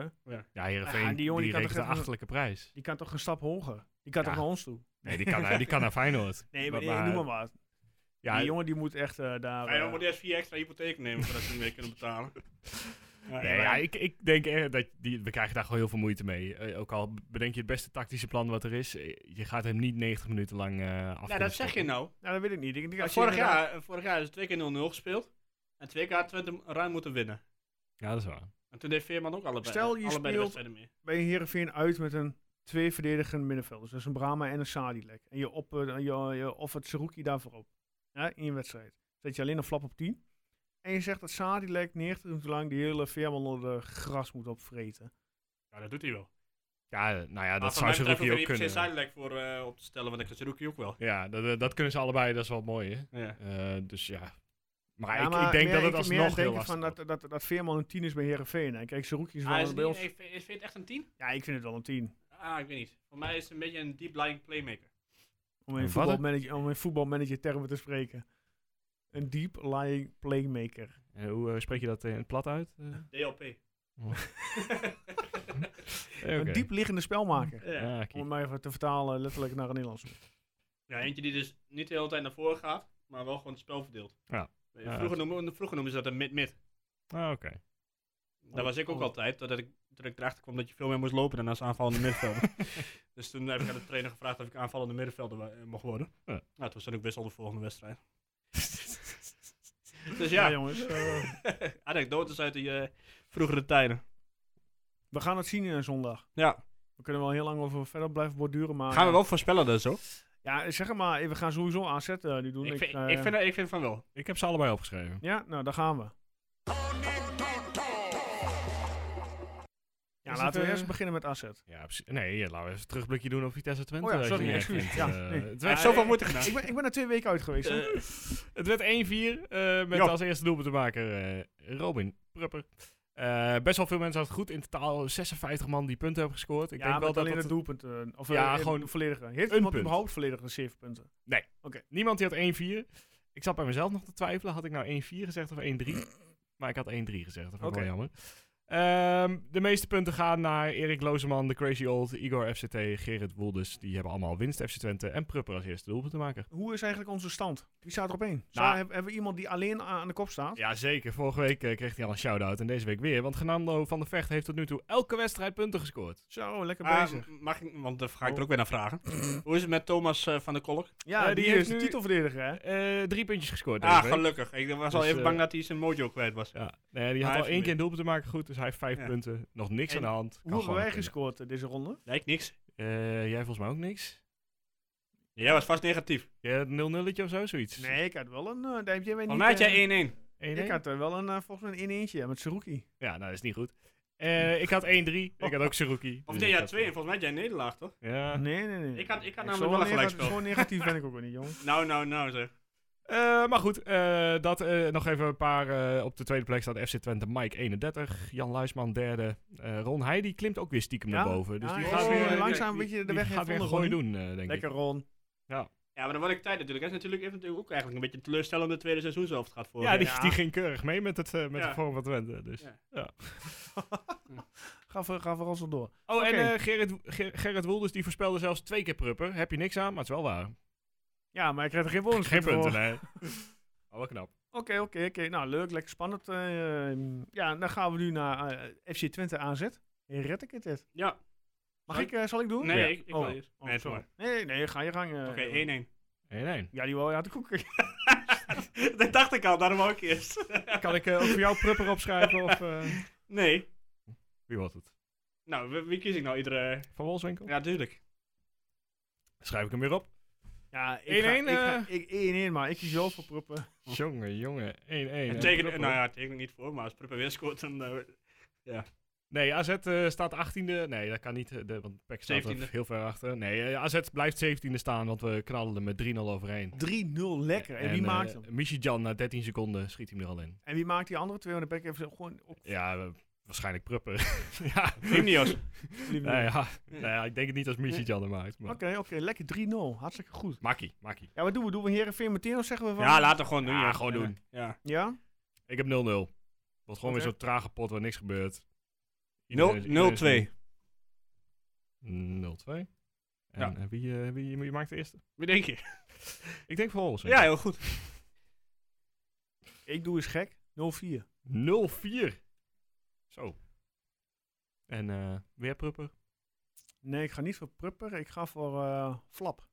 B: Ja, Heerenveen,
A: Ja, Ah, die
B: die,
A: jongen die kan
B: rekent
A: toch
B: een
A: even-
B: achterlijke
A: (laughs)
B: prijs.
A: Die kan toch een stap hoger? Die kan
B: Ja.
A: toch naar ons toe?
B: Nee, die kan, naar- die kan naar Feyenoord.
A: Nee, maar,
B: Maar- maar-
A: noem maar wat.
B: Ja,
A: die jongen die moet echt eh, daar...
C: Hij
A: eh,
C: moet eerst vier extra hypotheek nemen voordat ze hem weer kunnen betalen.
B: Nee, ja, ik, ik denk eh, dat die, we krijgen daar gewoon heel veel moeite mee. Eh, ook al bedenk je het beste tactische plan wat er is, eh, je gaat hem niet 90 minuten lang eh af.
C: Ja, dat zeg je nou.
A: nou, dat weet ik niet. Ik, denk dat je
C: vorig,
A: inderdaad-
C: jaar, eh, vorig jaar is het twee keer 0-0 gespeeld. En twee keer had Twente ruim moeten winnen.
B: Ja, dat is waar.
C: En toen deed Veerman ook allebei,
A: Stel, je
C: allebei de
A: speelt-
C: wedstrijden mee.
A: bij Heerenveen uit met een twee verdedigende middenvelders. Dus een Brahma en een Sadilek. En je, op, eh, je, je offert Seruki daarvoor op. Ja, in je wedstrijd. Zet je alleen een flap op 10. En je zegt dat Sadilek 90 minuten lang die hele Veerman onder de gras moet opvreten.
C: Ja, dat doet hij wel.
B: Ja, eh, nou ja, dat
C: mij
B: zou ze
C: betreft hoef je
B: ook
C: niet per se
B: kunnen.
C: Sidelec voor eh, op te stellen, want ik kan Zerouki ook wel.
B: Ja, dat, eh, dat kunnen ze allebei, dat is wel mooi. Hè?
C: Ja.
B: Eh, dus ja. Maar,
A: Ja,
B: ik,
A: maar
B: ik denk
A: meer-
B: dat het
A: ik-
B: alsnog
A: meer
B: heel
A: denken
B: lastig
A: van
B: wordt.
A: dat, dat, dat Veerman een 10 is bij Heerenveen. hè. Kijk, Seruki is wel
C: Ah, is
A: een
C: het niet-
A: beeld.
C: heeft- is Veert echt een 10?
A: Ja, ik vind het wel een 10.
C: Ah, ik weet niet. Voor mij is het een beetje een deep lying playmaker.
A: Om
B: Een
A: in
B: wat?
A: voetbalmanager, om in voetbalmanager termen te spreken. Een deep lying playmaker.
B: Eh, hoe eh, spreek je dat in het plat uit? Eh,
C: DLP.
B: Oh. eh, oké.
A: Een diep liggende spelmaker.
C: ja.
B: Ja,
A: Om
B: kijk.
A: het maar even te vertalen letterlijk naar het Nederlands.
B: (laughs)
C: ja, eentje die dus niet de hele tijd naar voren gaat, maar wel gewoon het spel verdeelt.
B: Ja.
C: Eh, Vroeger, noemen, vroeger noemden ze dat een mid-mid.
B: Ah, oké.
C: Daar was ik ook altijd, dat ik, dat ik erachter kwam dat je veel meer moest lopen dan als aanvallende middenvelder. dus toen heb ik aan de trainer gevraagd of ik aanvallende middenvelder wa- eh, mocht worden.
B: Ja.
C: Nou, toen stond ik wissel de volgende wedstrijd. dus
A: Ja,
C: ja,
A: jongens. eh,
C: (laughs) anekdotes uit die eh, vroegere tijden.
A: we gaan het zien eh, zondag.
C: Ja,
A: We kunnen wel heel lang over verder blijven borduren. Maar, eh,
C: gaan we wel voorspellen dus ook.
A: Ja, zeg het maar. eh, We gaan sowieso AZ eh, nu doen.
C: Ik, vind,
A: eh,
C: ik, vind, ik vind van wel.
B: Ik heb ze allebei opgeschreven.
A: Ja, nou, daar gaan we. Ja,
B: Is
A: laten
B: het,
A: we
B: eh,
A: eerst beginnen met AZ.
B: Ja, precies. Nee, ja, laten we even een terugblikje doen op Vitesse Twente.
A: Oh ja,
B: Dat je
A: sorry,
B: niet
A: excuus.
B: echt,
A: Ja,
B: eh,
A: nee.
B: het,
C: Er
B: werd,
C: is zoveel moeite gedaan.
A: Ik ben, ik ben er twee weken uit geweest. hè.
C: Eh,
B: het werd 1-4 eh, met
C: Ja.
B: als eerste doelpunt te maken Robin Prupper. Eh, best wel veel mensen hadden het goed. In totaal 56 man die punten hebben gescoord. Ik
A: ja,
B: denk wel
A: met
B: dat
A: alleen
B: dat
A: het doelpunt. eh, of
B: Ja,
A: ja, gewoon
B: gewoon
A: de volledige. Heeft
B: een
A: iemand
B: punt.
A: überhaupt volledig de zeven punten?
B: Niemand die had 1-4. Ik zat bij mezelf nog te twijfelen. Had ik nou 1-4 gezegd of 1-3? Maar ik had 1-3 gezegd. Dat vond ik wel
A: Oké.
B: jammer. Ehm, de meeste punten gaan naar Erik Lozeman, de Crazy Old, Igor FCT, Gerrit Woelders. Die hebben allemaal winst FC Twente en Prupper als eerste doelpuntenmaker.
A: Hoe is eigenlijk onze stand? Wie staat er op één? Zou-
B: Nou-
A: hebben- hebben we iemand die alleen aan aan de kop staat?
B: Ja, zeker. Vorige week eh, kreeg hij al een shout-out en deze week weer. Want Fernando van der Vecht heeft tot nu toe elke wedstrijd punten gescoord.
A: Zo, lekker
C: Ah,
A: bezig.
C: mag ik, want daar ga ik er ook weer naar vragen. Hoe is het met Thomas eh, van der Kolk?
A: Ja,
B: eh,
A: die,
B: die
A: is
B: heeft
A: de
B: nu-
A: titelverdediger, hè?
B: Eh, drie puntjes gescoord deze
C: Ah,
B: week.
C: gelukkig. Ik was al
B: Dus,
C: even
B: eh,
C: bang dat hij zijn mojo kwijt was.
B: Ja, nee, die
C: Maar
B: had
C: hij
B: al
C: heeft
B: één keer
C: weer.
B: een doelpunt te maken goed, dus hij heeft vijf
C: Ja.
B: punten. Nog niks
C: En
B: aan de hand. Kan
A: Hoe hebben
B: gewoon
A: wij
B: nog winnen.
A: gescoord eh, deze ronde?
C: Nee, ik niks.
B: Eh, jij volgens mij ook niks.
C: Jij was vast negatief.
B: Jij had een 0-0'tje of zo, zoiets.
A: Nee, ik had wel een. eh, daar heb jij mij niet,
C: Volgens mij had
A: eh,
C: jij 1-1.
B: 1-1?
A: Ik had er wel een, eh, volgens mij een in eentje ja, met Saruki.
B: Ja, nou, dat is niet goed. Eh, ik had 1-3. Ik had ook Seruki.
C: Of
B: Dus
C: nee,
B: ik
C: ja,
B: had-
C: 2 en volgens mij had jij een nederlaag, toch?
B: Ja.
A: Nee, nee, nee.
C: Ik had- ik had namelijk
A: zo
C: wel een
A: nega-
C: gelijkspel.
A: Zo negatief ben ik ook wel niet, jongen.
C: Nou, nou, nou zeg.
B: Eh, maar goed, eh, dat eh, nog even een paar. eh, op de tweede plek staat FC Twente Mike 31. Jan Luisman derde. Eh, Ron Heidi klimt ook weer stiekem (laughs) naar boven. Dus
A: ja,
B: die
A: hij
B: gaat
A: is
B: weer,
C: lang-
A: langzaam een
C: die-
A: beetje de
B: die
A: weg
B: gaat weer een gooi
A: gewoon
B: doen, eh, denk
A: Lekker
B: ik.
A: Ron. (laughs)
C: Ja, maar dan word ik tijd natuurlijk. Hij is natuurlijk, heeft natuurlijk ook eigenlijk een beetje een teleurstellende tweede seizoen zelf gehad voor.
B: Ja, die,
A: Ja.
B: die ging keurig mee met, het, eh, met
C: Ja.
B: de vorm van Twente. Dus.
C: Ja.
A: Ga, voor, ga vooral zo door.
B: Oh, en
A: Oké.
B: eh, Gerrit, Ger- Gerrit Woelders die voorspelde zelfs twee keer prupper. Heb je niks aan, maar het is wel waar.
A: Ja, maar ik krijg er geen bonus
B: Geen
A: voor.
B: punten, nee. (laughs) Oh, wel knap.
A: Oké, oké, oké. Nou, leuk, lekker spannend. eh, ja, dan gaan we nu naar eh, FC Twente AZ. Red ik het dit?
C: Ja.
A: Mag
C: Zal
A: ik, eh, zal ik doen?
C: Nee,
B: Ja.
C: ik, ik wil
A: Oh.
C: eerst.
A: Oh,
C: nee,
A: sorry.
C: sorry.
A: Nee, nee, ga je gang. eh,
C: Oké, 1-1.
A: (laughs)
B: 1-1.
A: Ja, die wil je aan de koeken.
C: (laughs) dat dacht ik al, daarom wou ik eerst.
B: Kan ik eh, ook voor jou prupper opschrijven? Of, eh,
C: nee.
B: Wie was het?
C: Nou, wie, wie kies ik nou iedere.
B: Van Wolfswinkel?
C: Ja, tuurlijk.
B: Schrijf ik hem weer op.
A: (laughs) Ja, ik
B: 1-1,
A: ga-
B: eh.
A: ik ga- ik 1-1, maar ik kies wel voor Pruppen.
B: Jongen, jongen. 1-1. hè.
C: Teken, nou ja, teken ik niet voor, maar als Pruppen weer scoort, dan... eh,
B: Nee, AZ eh, staat 18e. Nee, dat kan niet, eh, de, want PEC staat er
C: 17e.
B: heel ver achter. Nee, eh, AZ blijft 17e staan, want we knallen er met 3-0 overheen.
A: 3-0, lekker. En, wie
B: eh,
A: maakt hem?
B: Michijan na 13 seconden schiet hem er al in.
A: En wie maakt die andere twee? Want dan ben ik even zo gewoon op.
B: Ja, eh, waarschijnlijk Pruppen. (laughs) ja. (laughs)
C: Ineos.
B: Nou ja, nou ja, ik denk het niet als Michijan er maakt. Maar...
A: Oké, oké, lekker 3-0. Hartstikke goed.
B: Makkie, makkie.
A: Ja, wat doen we? Doen we Herenveen meteen of zeggen we van...
C: Ja, laten gewoon doen.
B: Ja, gewoon doen.
C: Ja.
A: Ja?
B: Ik heb 0-0. Wordt gewoon
A: Oké.
B: weer zo'n trage pot waar niks gebeurt. Iedereen is- iedereen is-
C: 0-2.
B: 0-2. En
C: Ja.
B: eh, wie, eh, wie, wie maakt de eerste?
C: Wie denk je?
B: Ik denk voor Olsen.
C: Ja, heel goed.
A: Ik doe eens gek. 0-4.
B: 0-4. Zo. En eh, weer Prupper.
A: Nee, ik ga niet voor Prupper. Ik ga voor eh, Flap.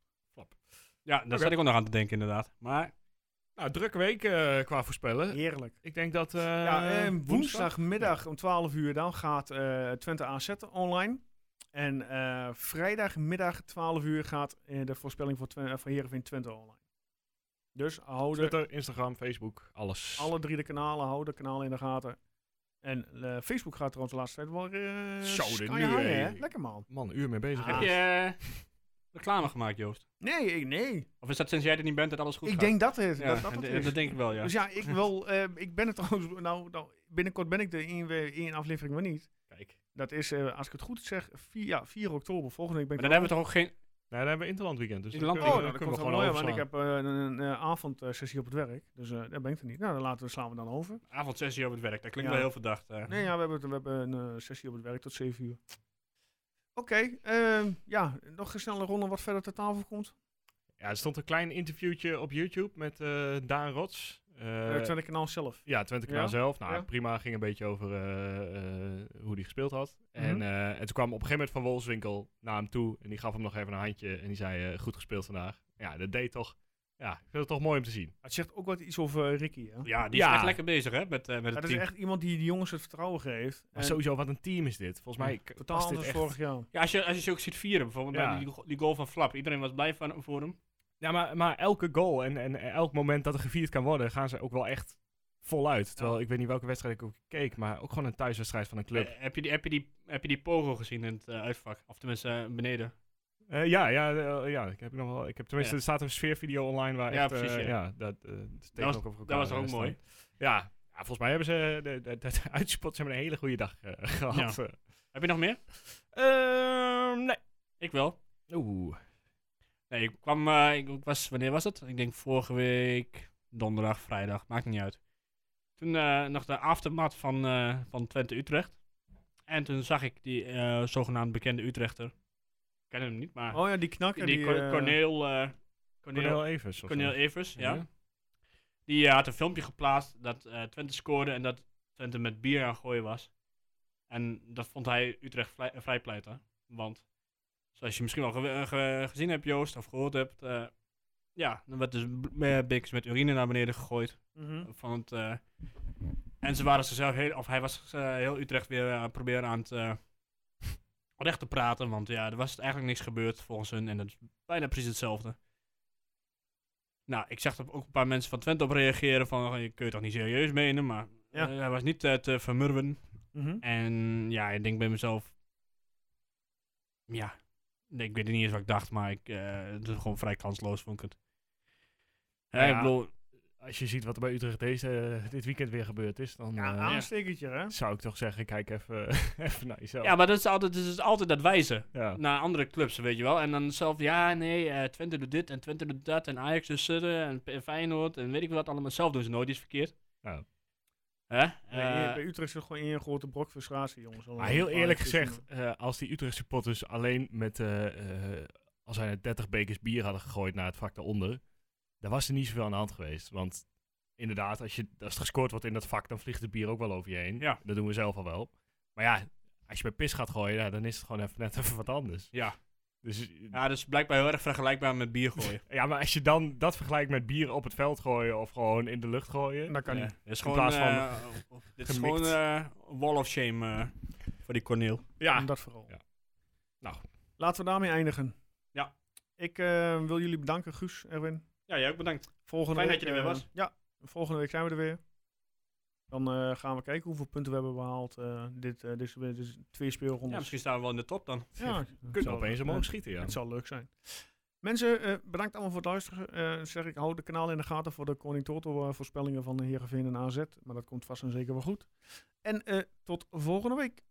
C: Ja, daar zat ik ook nog aan te denken inderdaad. Maar
B: Nou, drukke week eh, qua voorspellen.
A: Heerlijk.
B: Ik denk dat... eh,
A: ja, en woensdagmiddag om 12 uur dan gaat eh, Twente AZ online. En eh, vrijdagmiddag 12 uur gaat eh, de voorspelling voor, Twen- eh, voor Heerenveen Twente online. Dus houden
B: Twitter, Instagram, Facebook, alles.
A: alle drie de kanalen, houden de kanalen in de gaten. En eh, Facebook gaat trouwens de laatste tijd wel eh
B: Zo, dit
A: sky
B: nu,
A: hangen,
B: hé.
A: hè? Lekker man.
B: Man, een uur mee bezig.
A: Ah.
C: heb je eh, reclame gemaakt, Joost?
A: Nee, ik, nee.
C: Of is dat sinds jij er niet bent dat alles goed
A: ik
C: gaat?
A: denk dat het,
C: Ja,
A: dat, dat het
C: d-
A: is.
C: dat denk ik wel, ja.
A: Dus ja,
B: (laughs)
A: ik, wil, eh, ik ben het trouwens, nou, nou, binnenkort ben ik er één, weer- één aflevering maar niet.
B: Kijk.
A: Dat is, eh, als ik het goed zeg, 4, ja, 4 oktober. Volgende week ben
C: Maar
A: ik
C: dan hebben we toch ook geen...
B: Nee, dan hebben we Interland weekend. Dus
C: Interland
B: dan
A: Oh,
B: kunnen-
A: nou, dat
B: kunnen
A: komt
B: we
A: wel
B: gewoon
A: mooi,
B: overslaan.
A: want ik heb eh, een, een eh, avondsessie op het werk. Dus eh, daar ben ik er niet. Nou, dan laten we, slaan we dan over.
C: Avondsessie op het werk, dat klinkt
A: Ja.
C: wel heel verdacht. eh.
A: Nee, ja, we hebben, we hebben een eh, sessie op het werk tot 7 uur. Oké, ehm, ja, nog een snelle ronde wat verder ter tafel komt.
B: Ja, er stond een klein interviewtje op YouTube met eh, Daan Rots. Eh,
A: Eh Twente Kanaal zelf.
B: Ja, Twente Kanaal
A: Ja,
B: zelf. Nou,
A: ja.
B: prima. Ging een beetje over eh, eh, hoe die gespeeld had. En, eh, en toen kwam op een gegeven moment Van Wolfswinkel naar hem toe. En die gaf hem nog even een handje. En die zei, eh, goed gespeeld vandaag. Ja, dat deed toch... Ja, ik vind het toch mooi om te zien.
A: Het zegt ook wat iets over eh, Ricky. Hè?
C: Ja, die is
B: Ja.
C: echt lekker bezig, hè, met, eh, met het
A: dat is
C: team.
A: echt iemand die de jongens het vertrouwen geeft.
B: Maar
A: En
B: sowieso, wat een team is dit. Volgens mij k-
A: Totaal
B: past dit
A: anders
B: echt.
A: vorig jaar.
C: Ja, als je, als je ze ook ziet vieren, bijvoorbeeld
B: Ja.
C: bij die, go- die goal van Flap. Iedereen was blij van, voor hem.
B: Ja, maar, maar elke goal en, en elk moment dat er gevierd kan worden... gaan ze ook wel echt voluit. Terwijl ik weet niet welke wedstrijd ik ook keek... maar ook gewoon een thuiswedstrijd van een club.
C: Eh, heb, je die, heb, je die, heb je die pogo gezien in het eh, uitvak? Of tenminste, eh, beneden.
B: Eh, ja, ja, eh, ja, ik heb nog wel. Ik heb tenminste,
C: Ja.
B: er staat een sfeervideo online waar.
C: Ja,
B: echt, eh,
C: precies, ja.
B: dat, eh, de steken
C: was-
B: ook over
C: dat
B: elkaar,
C: was ook
B: eh,
C: mooi.
B: staan. Ja, ja, volgens mij hebben ze de, de, de, de uitspot ze hebben een hele goede dag eh, (laughs) gehad.
C: Ja. Heb je nog meer?
B: Eh, ehm, nee.
C: Ik wel.
B: Oeh.
C: Nee, ik kwam, eh, ik ik was, wanneer was het? Ik denk vorige week, donderdag, vrijdag, maakt niet uit. Toen eh, nog de aftermat van, eh, van Twente Utrecht. En toen zag ik die eh, zogenaamd bekende Utrechter. Ik ken hem niet, maar
A: Oh ja, die knakker.
C: die,
A: Die,
C: Cor-
A: eh,
C: Corneel, eh, Corneel,
B: Cornel Evers. of
C: Corneel
B: zo.
C: Evers, ja.
B: Ja.
C: Die eh, had een filmpje geplaatst dat eh, Twente scoorde en dat Twente met bier aan het gooien was. En dat vond hij Utrecht vlei- eh, vrijpleiten. Want, zoals je misschien wel ge- eh, ge- gezien hebt Joost, of gehoord hebt, eh, ja, dan werd dus b- eh, Bix met urine naar beneden gegooid.
A: mhm.
C: Van het, eh, en ze waren zichzelf heel, of hij was eh, heel Utrecht weer eh, aan het proberen aan het eh, recht te praten. Want ja, er was eigenlijk niks gebeurd volgens hun en dat is bijna precies hetzelfde. Nou, ik zag er ook een paar mensen van Twente op reageren van, "Oh, je kun je toch niet serieus menen, maar
A: Ja.
C: eh, hij was niet eh, te vermurwen.
A: mhm.
C: En ja, ik denk bij mezelf. Ja, nee, ik weet niet eens wat ik dacht, maar ik, eh, het is gewoon vrij kansloos, vond ik het. Ja,
B: Nou
C: ik
B: ja,
C: bedoel,
B: Als je ziet wat er bij Utrecht deze, eh, dit weekend weer gebeurd is, dan
A: Ja,
B: eh,
C: nou.
A: aanstekertje, hè?
B: zou ik toch zeggen: kijk even, (laughs) even naar jezelf.
C: ja, maar dat is altijd, het is altijd dat wijzen
B: Ja.
C: naar andere clubs, weet je wel. En dan zelf, ja, nee, eh, Twente doet dit en Twente doet dat en Ajax doet Zudden en P- Feyenoord en weet ik wat allemaal. Zelf doen ze nooit iets verkeerd.
B: Ja.
C: Hè?
A: Nee,
C: Eh,
A: bij Utrecht is het gewoon één grote brok frustratie, jongens.
B: Maar heel eerlijk
A: Allemaal-
B: gezegd, eh, als die Utrecht supporters alleen met, eh, eh, als hij net 30 bekers bier hadden gegooid naar het vak daaronder, dan was er niet zoveel aan de hand geweest. Want inderdaad, als, je, als er gescoord wordt in dat vak, dan vliegt het bier ook wel over je heen.
C: Ja.
B: Dat doen we zelf al wel. Maar ja, als je bij pis gaat gooien, ja, dan is het gewoon even, net (laughs) even wat anders.
C: ja.
B: Dus, ja.
C: ja, dat is blijkbaar heel erg vergelijkbaar met bier (laughs) gooien.
B: maar als je dan dat vergelijkt met bier op het veld gooien of gewoon in de lucht gooien.
A: Dat kan
C: Ja,
A: niet.
C: dit is
B: In
C: gewoon,
B: plaats van
C: eh, dit is
B: gemikt.
C: gewoon eh, wall of shame eh, voor die Corneel.
B: Ja,
A: Om dat vooral.
B: Ja. Nou.
A: Laten we daarmee eindigen.
C: Ja.
A: Ik eh, wil jullie bedanken, Guus, Erwin.
C: Ja, jij ook bedankt.
A: Volgende
C: Fijn
A: week,
C: dat je er weer
A: eh,
C: was.
A: ja, volgende week zijn we er weer. Dan eh, gaan we kijken hoeveel punten we hebben behaald. eh dit, eh dit, is- dit is twee
C: Ja,
A: speelrondes.
C: misschien staan we wel in de top dan.
A: Ja,
B: Kun je
A: zal-
B: opeens omhoog schieten, ja.
A: Het zal leuk zijn. Mensen, eh, bedankt allemaal voor het luisteren. Eh, zeg ik, hou de kanaal in de gaten voor de Koning Toto eh, voorspellingen van de Heerenveen en AZ. Maar dat komt vast en zeker wel goed. En eh, tot volgende week.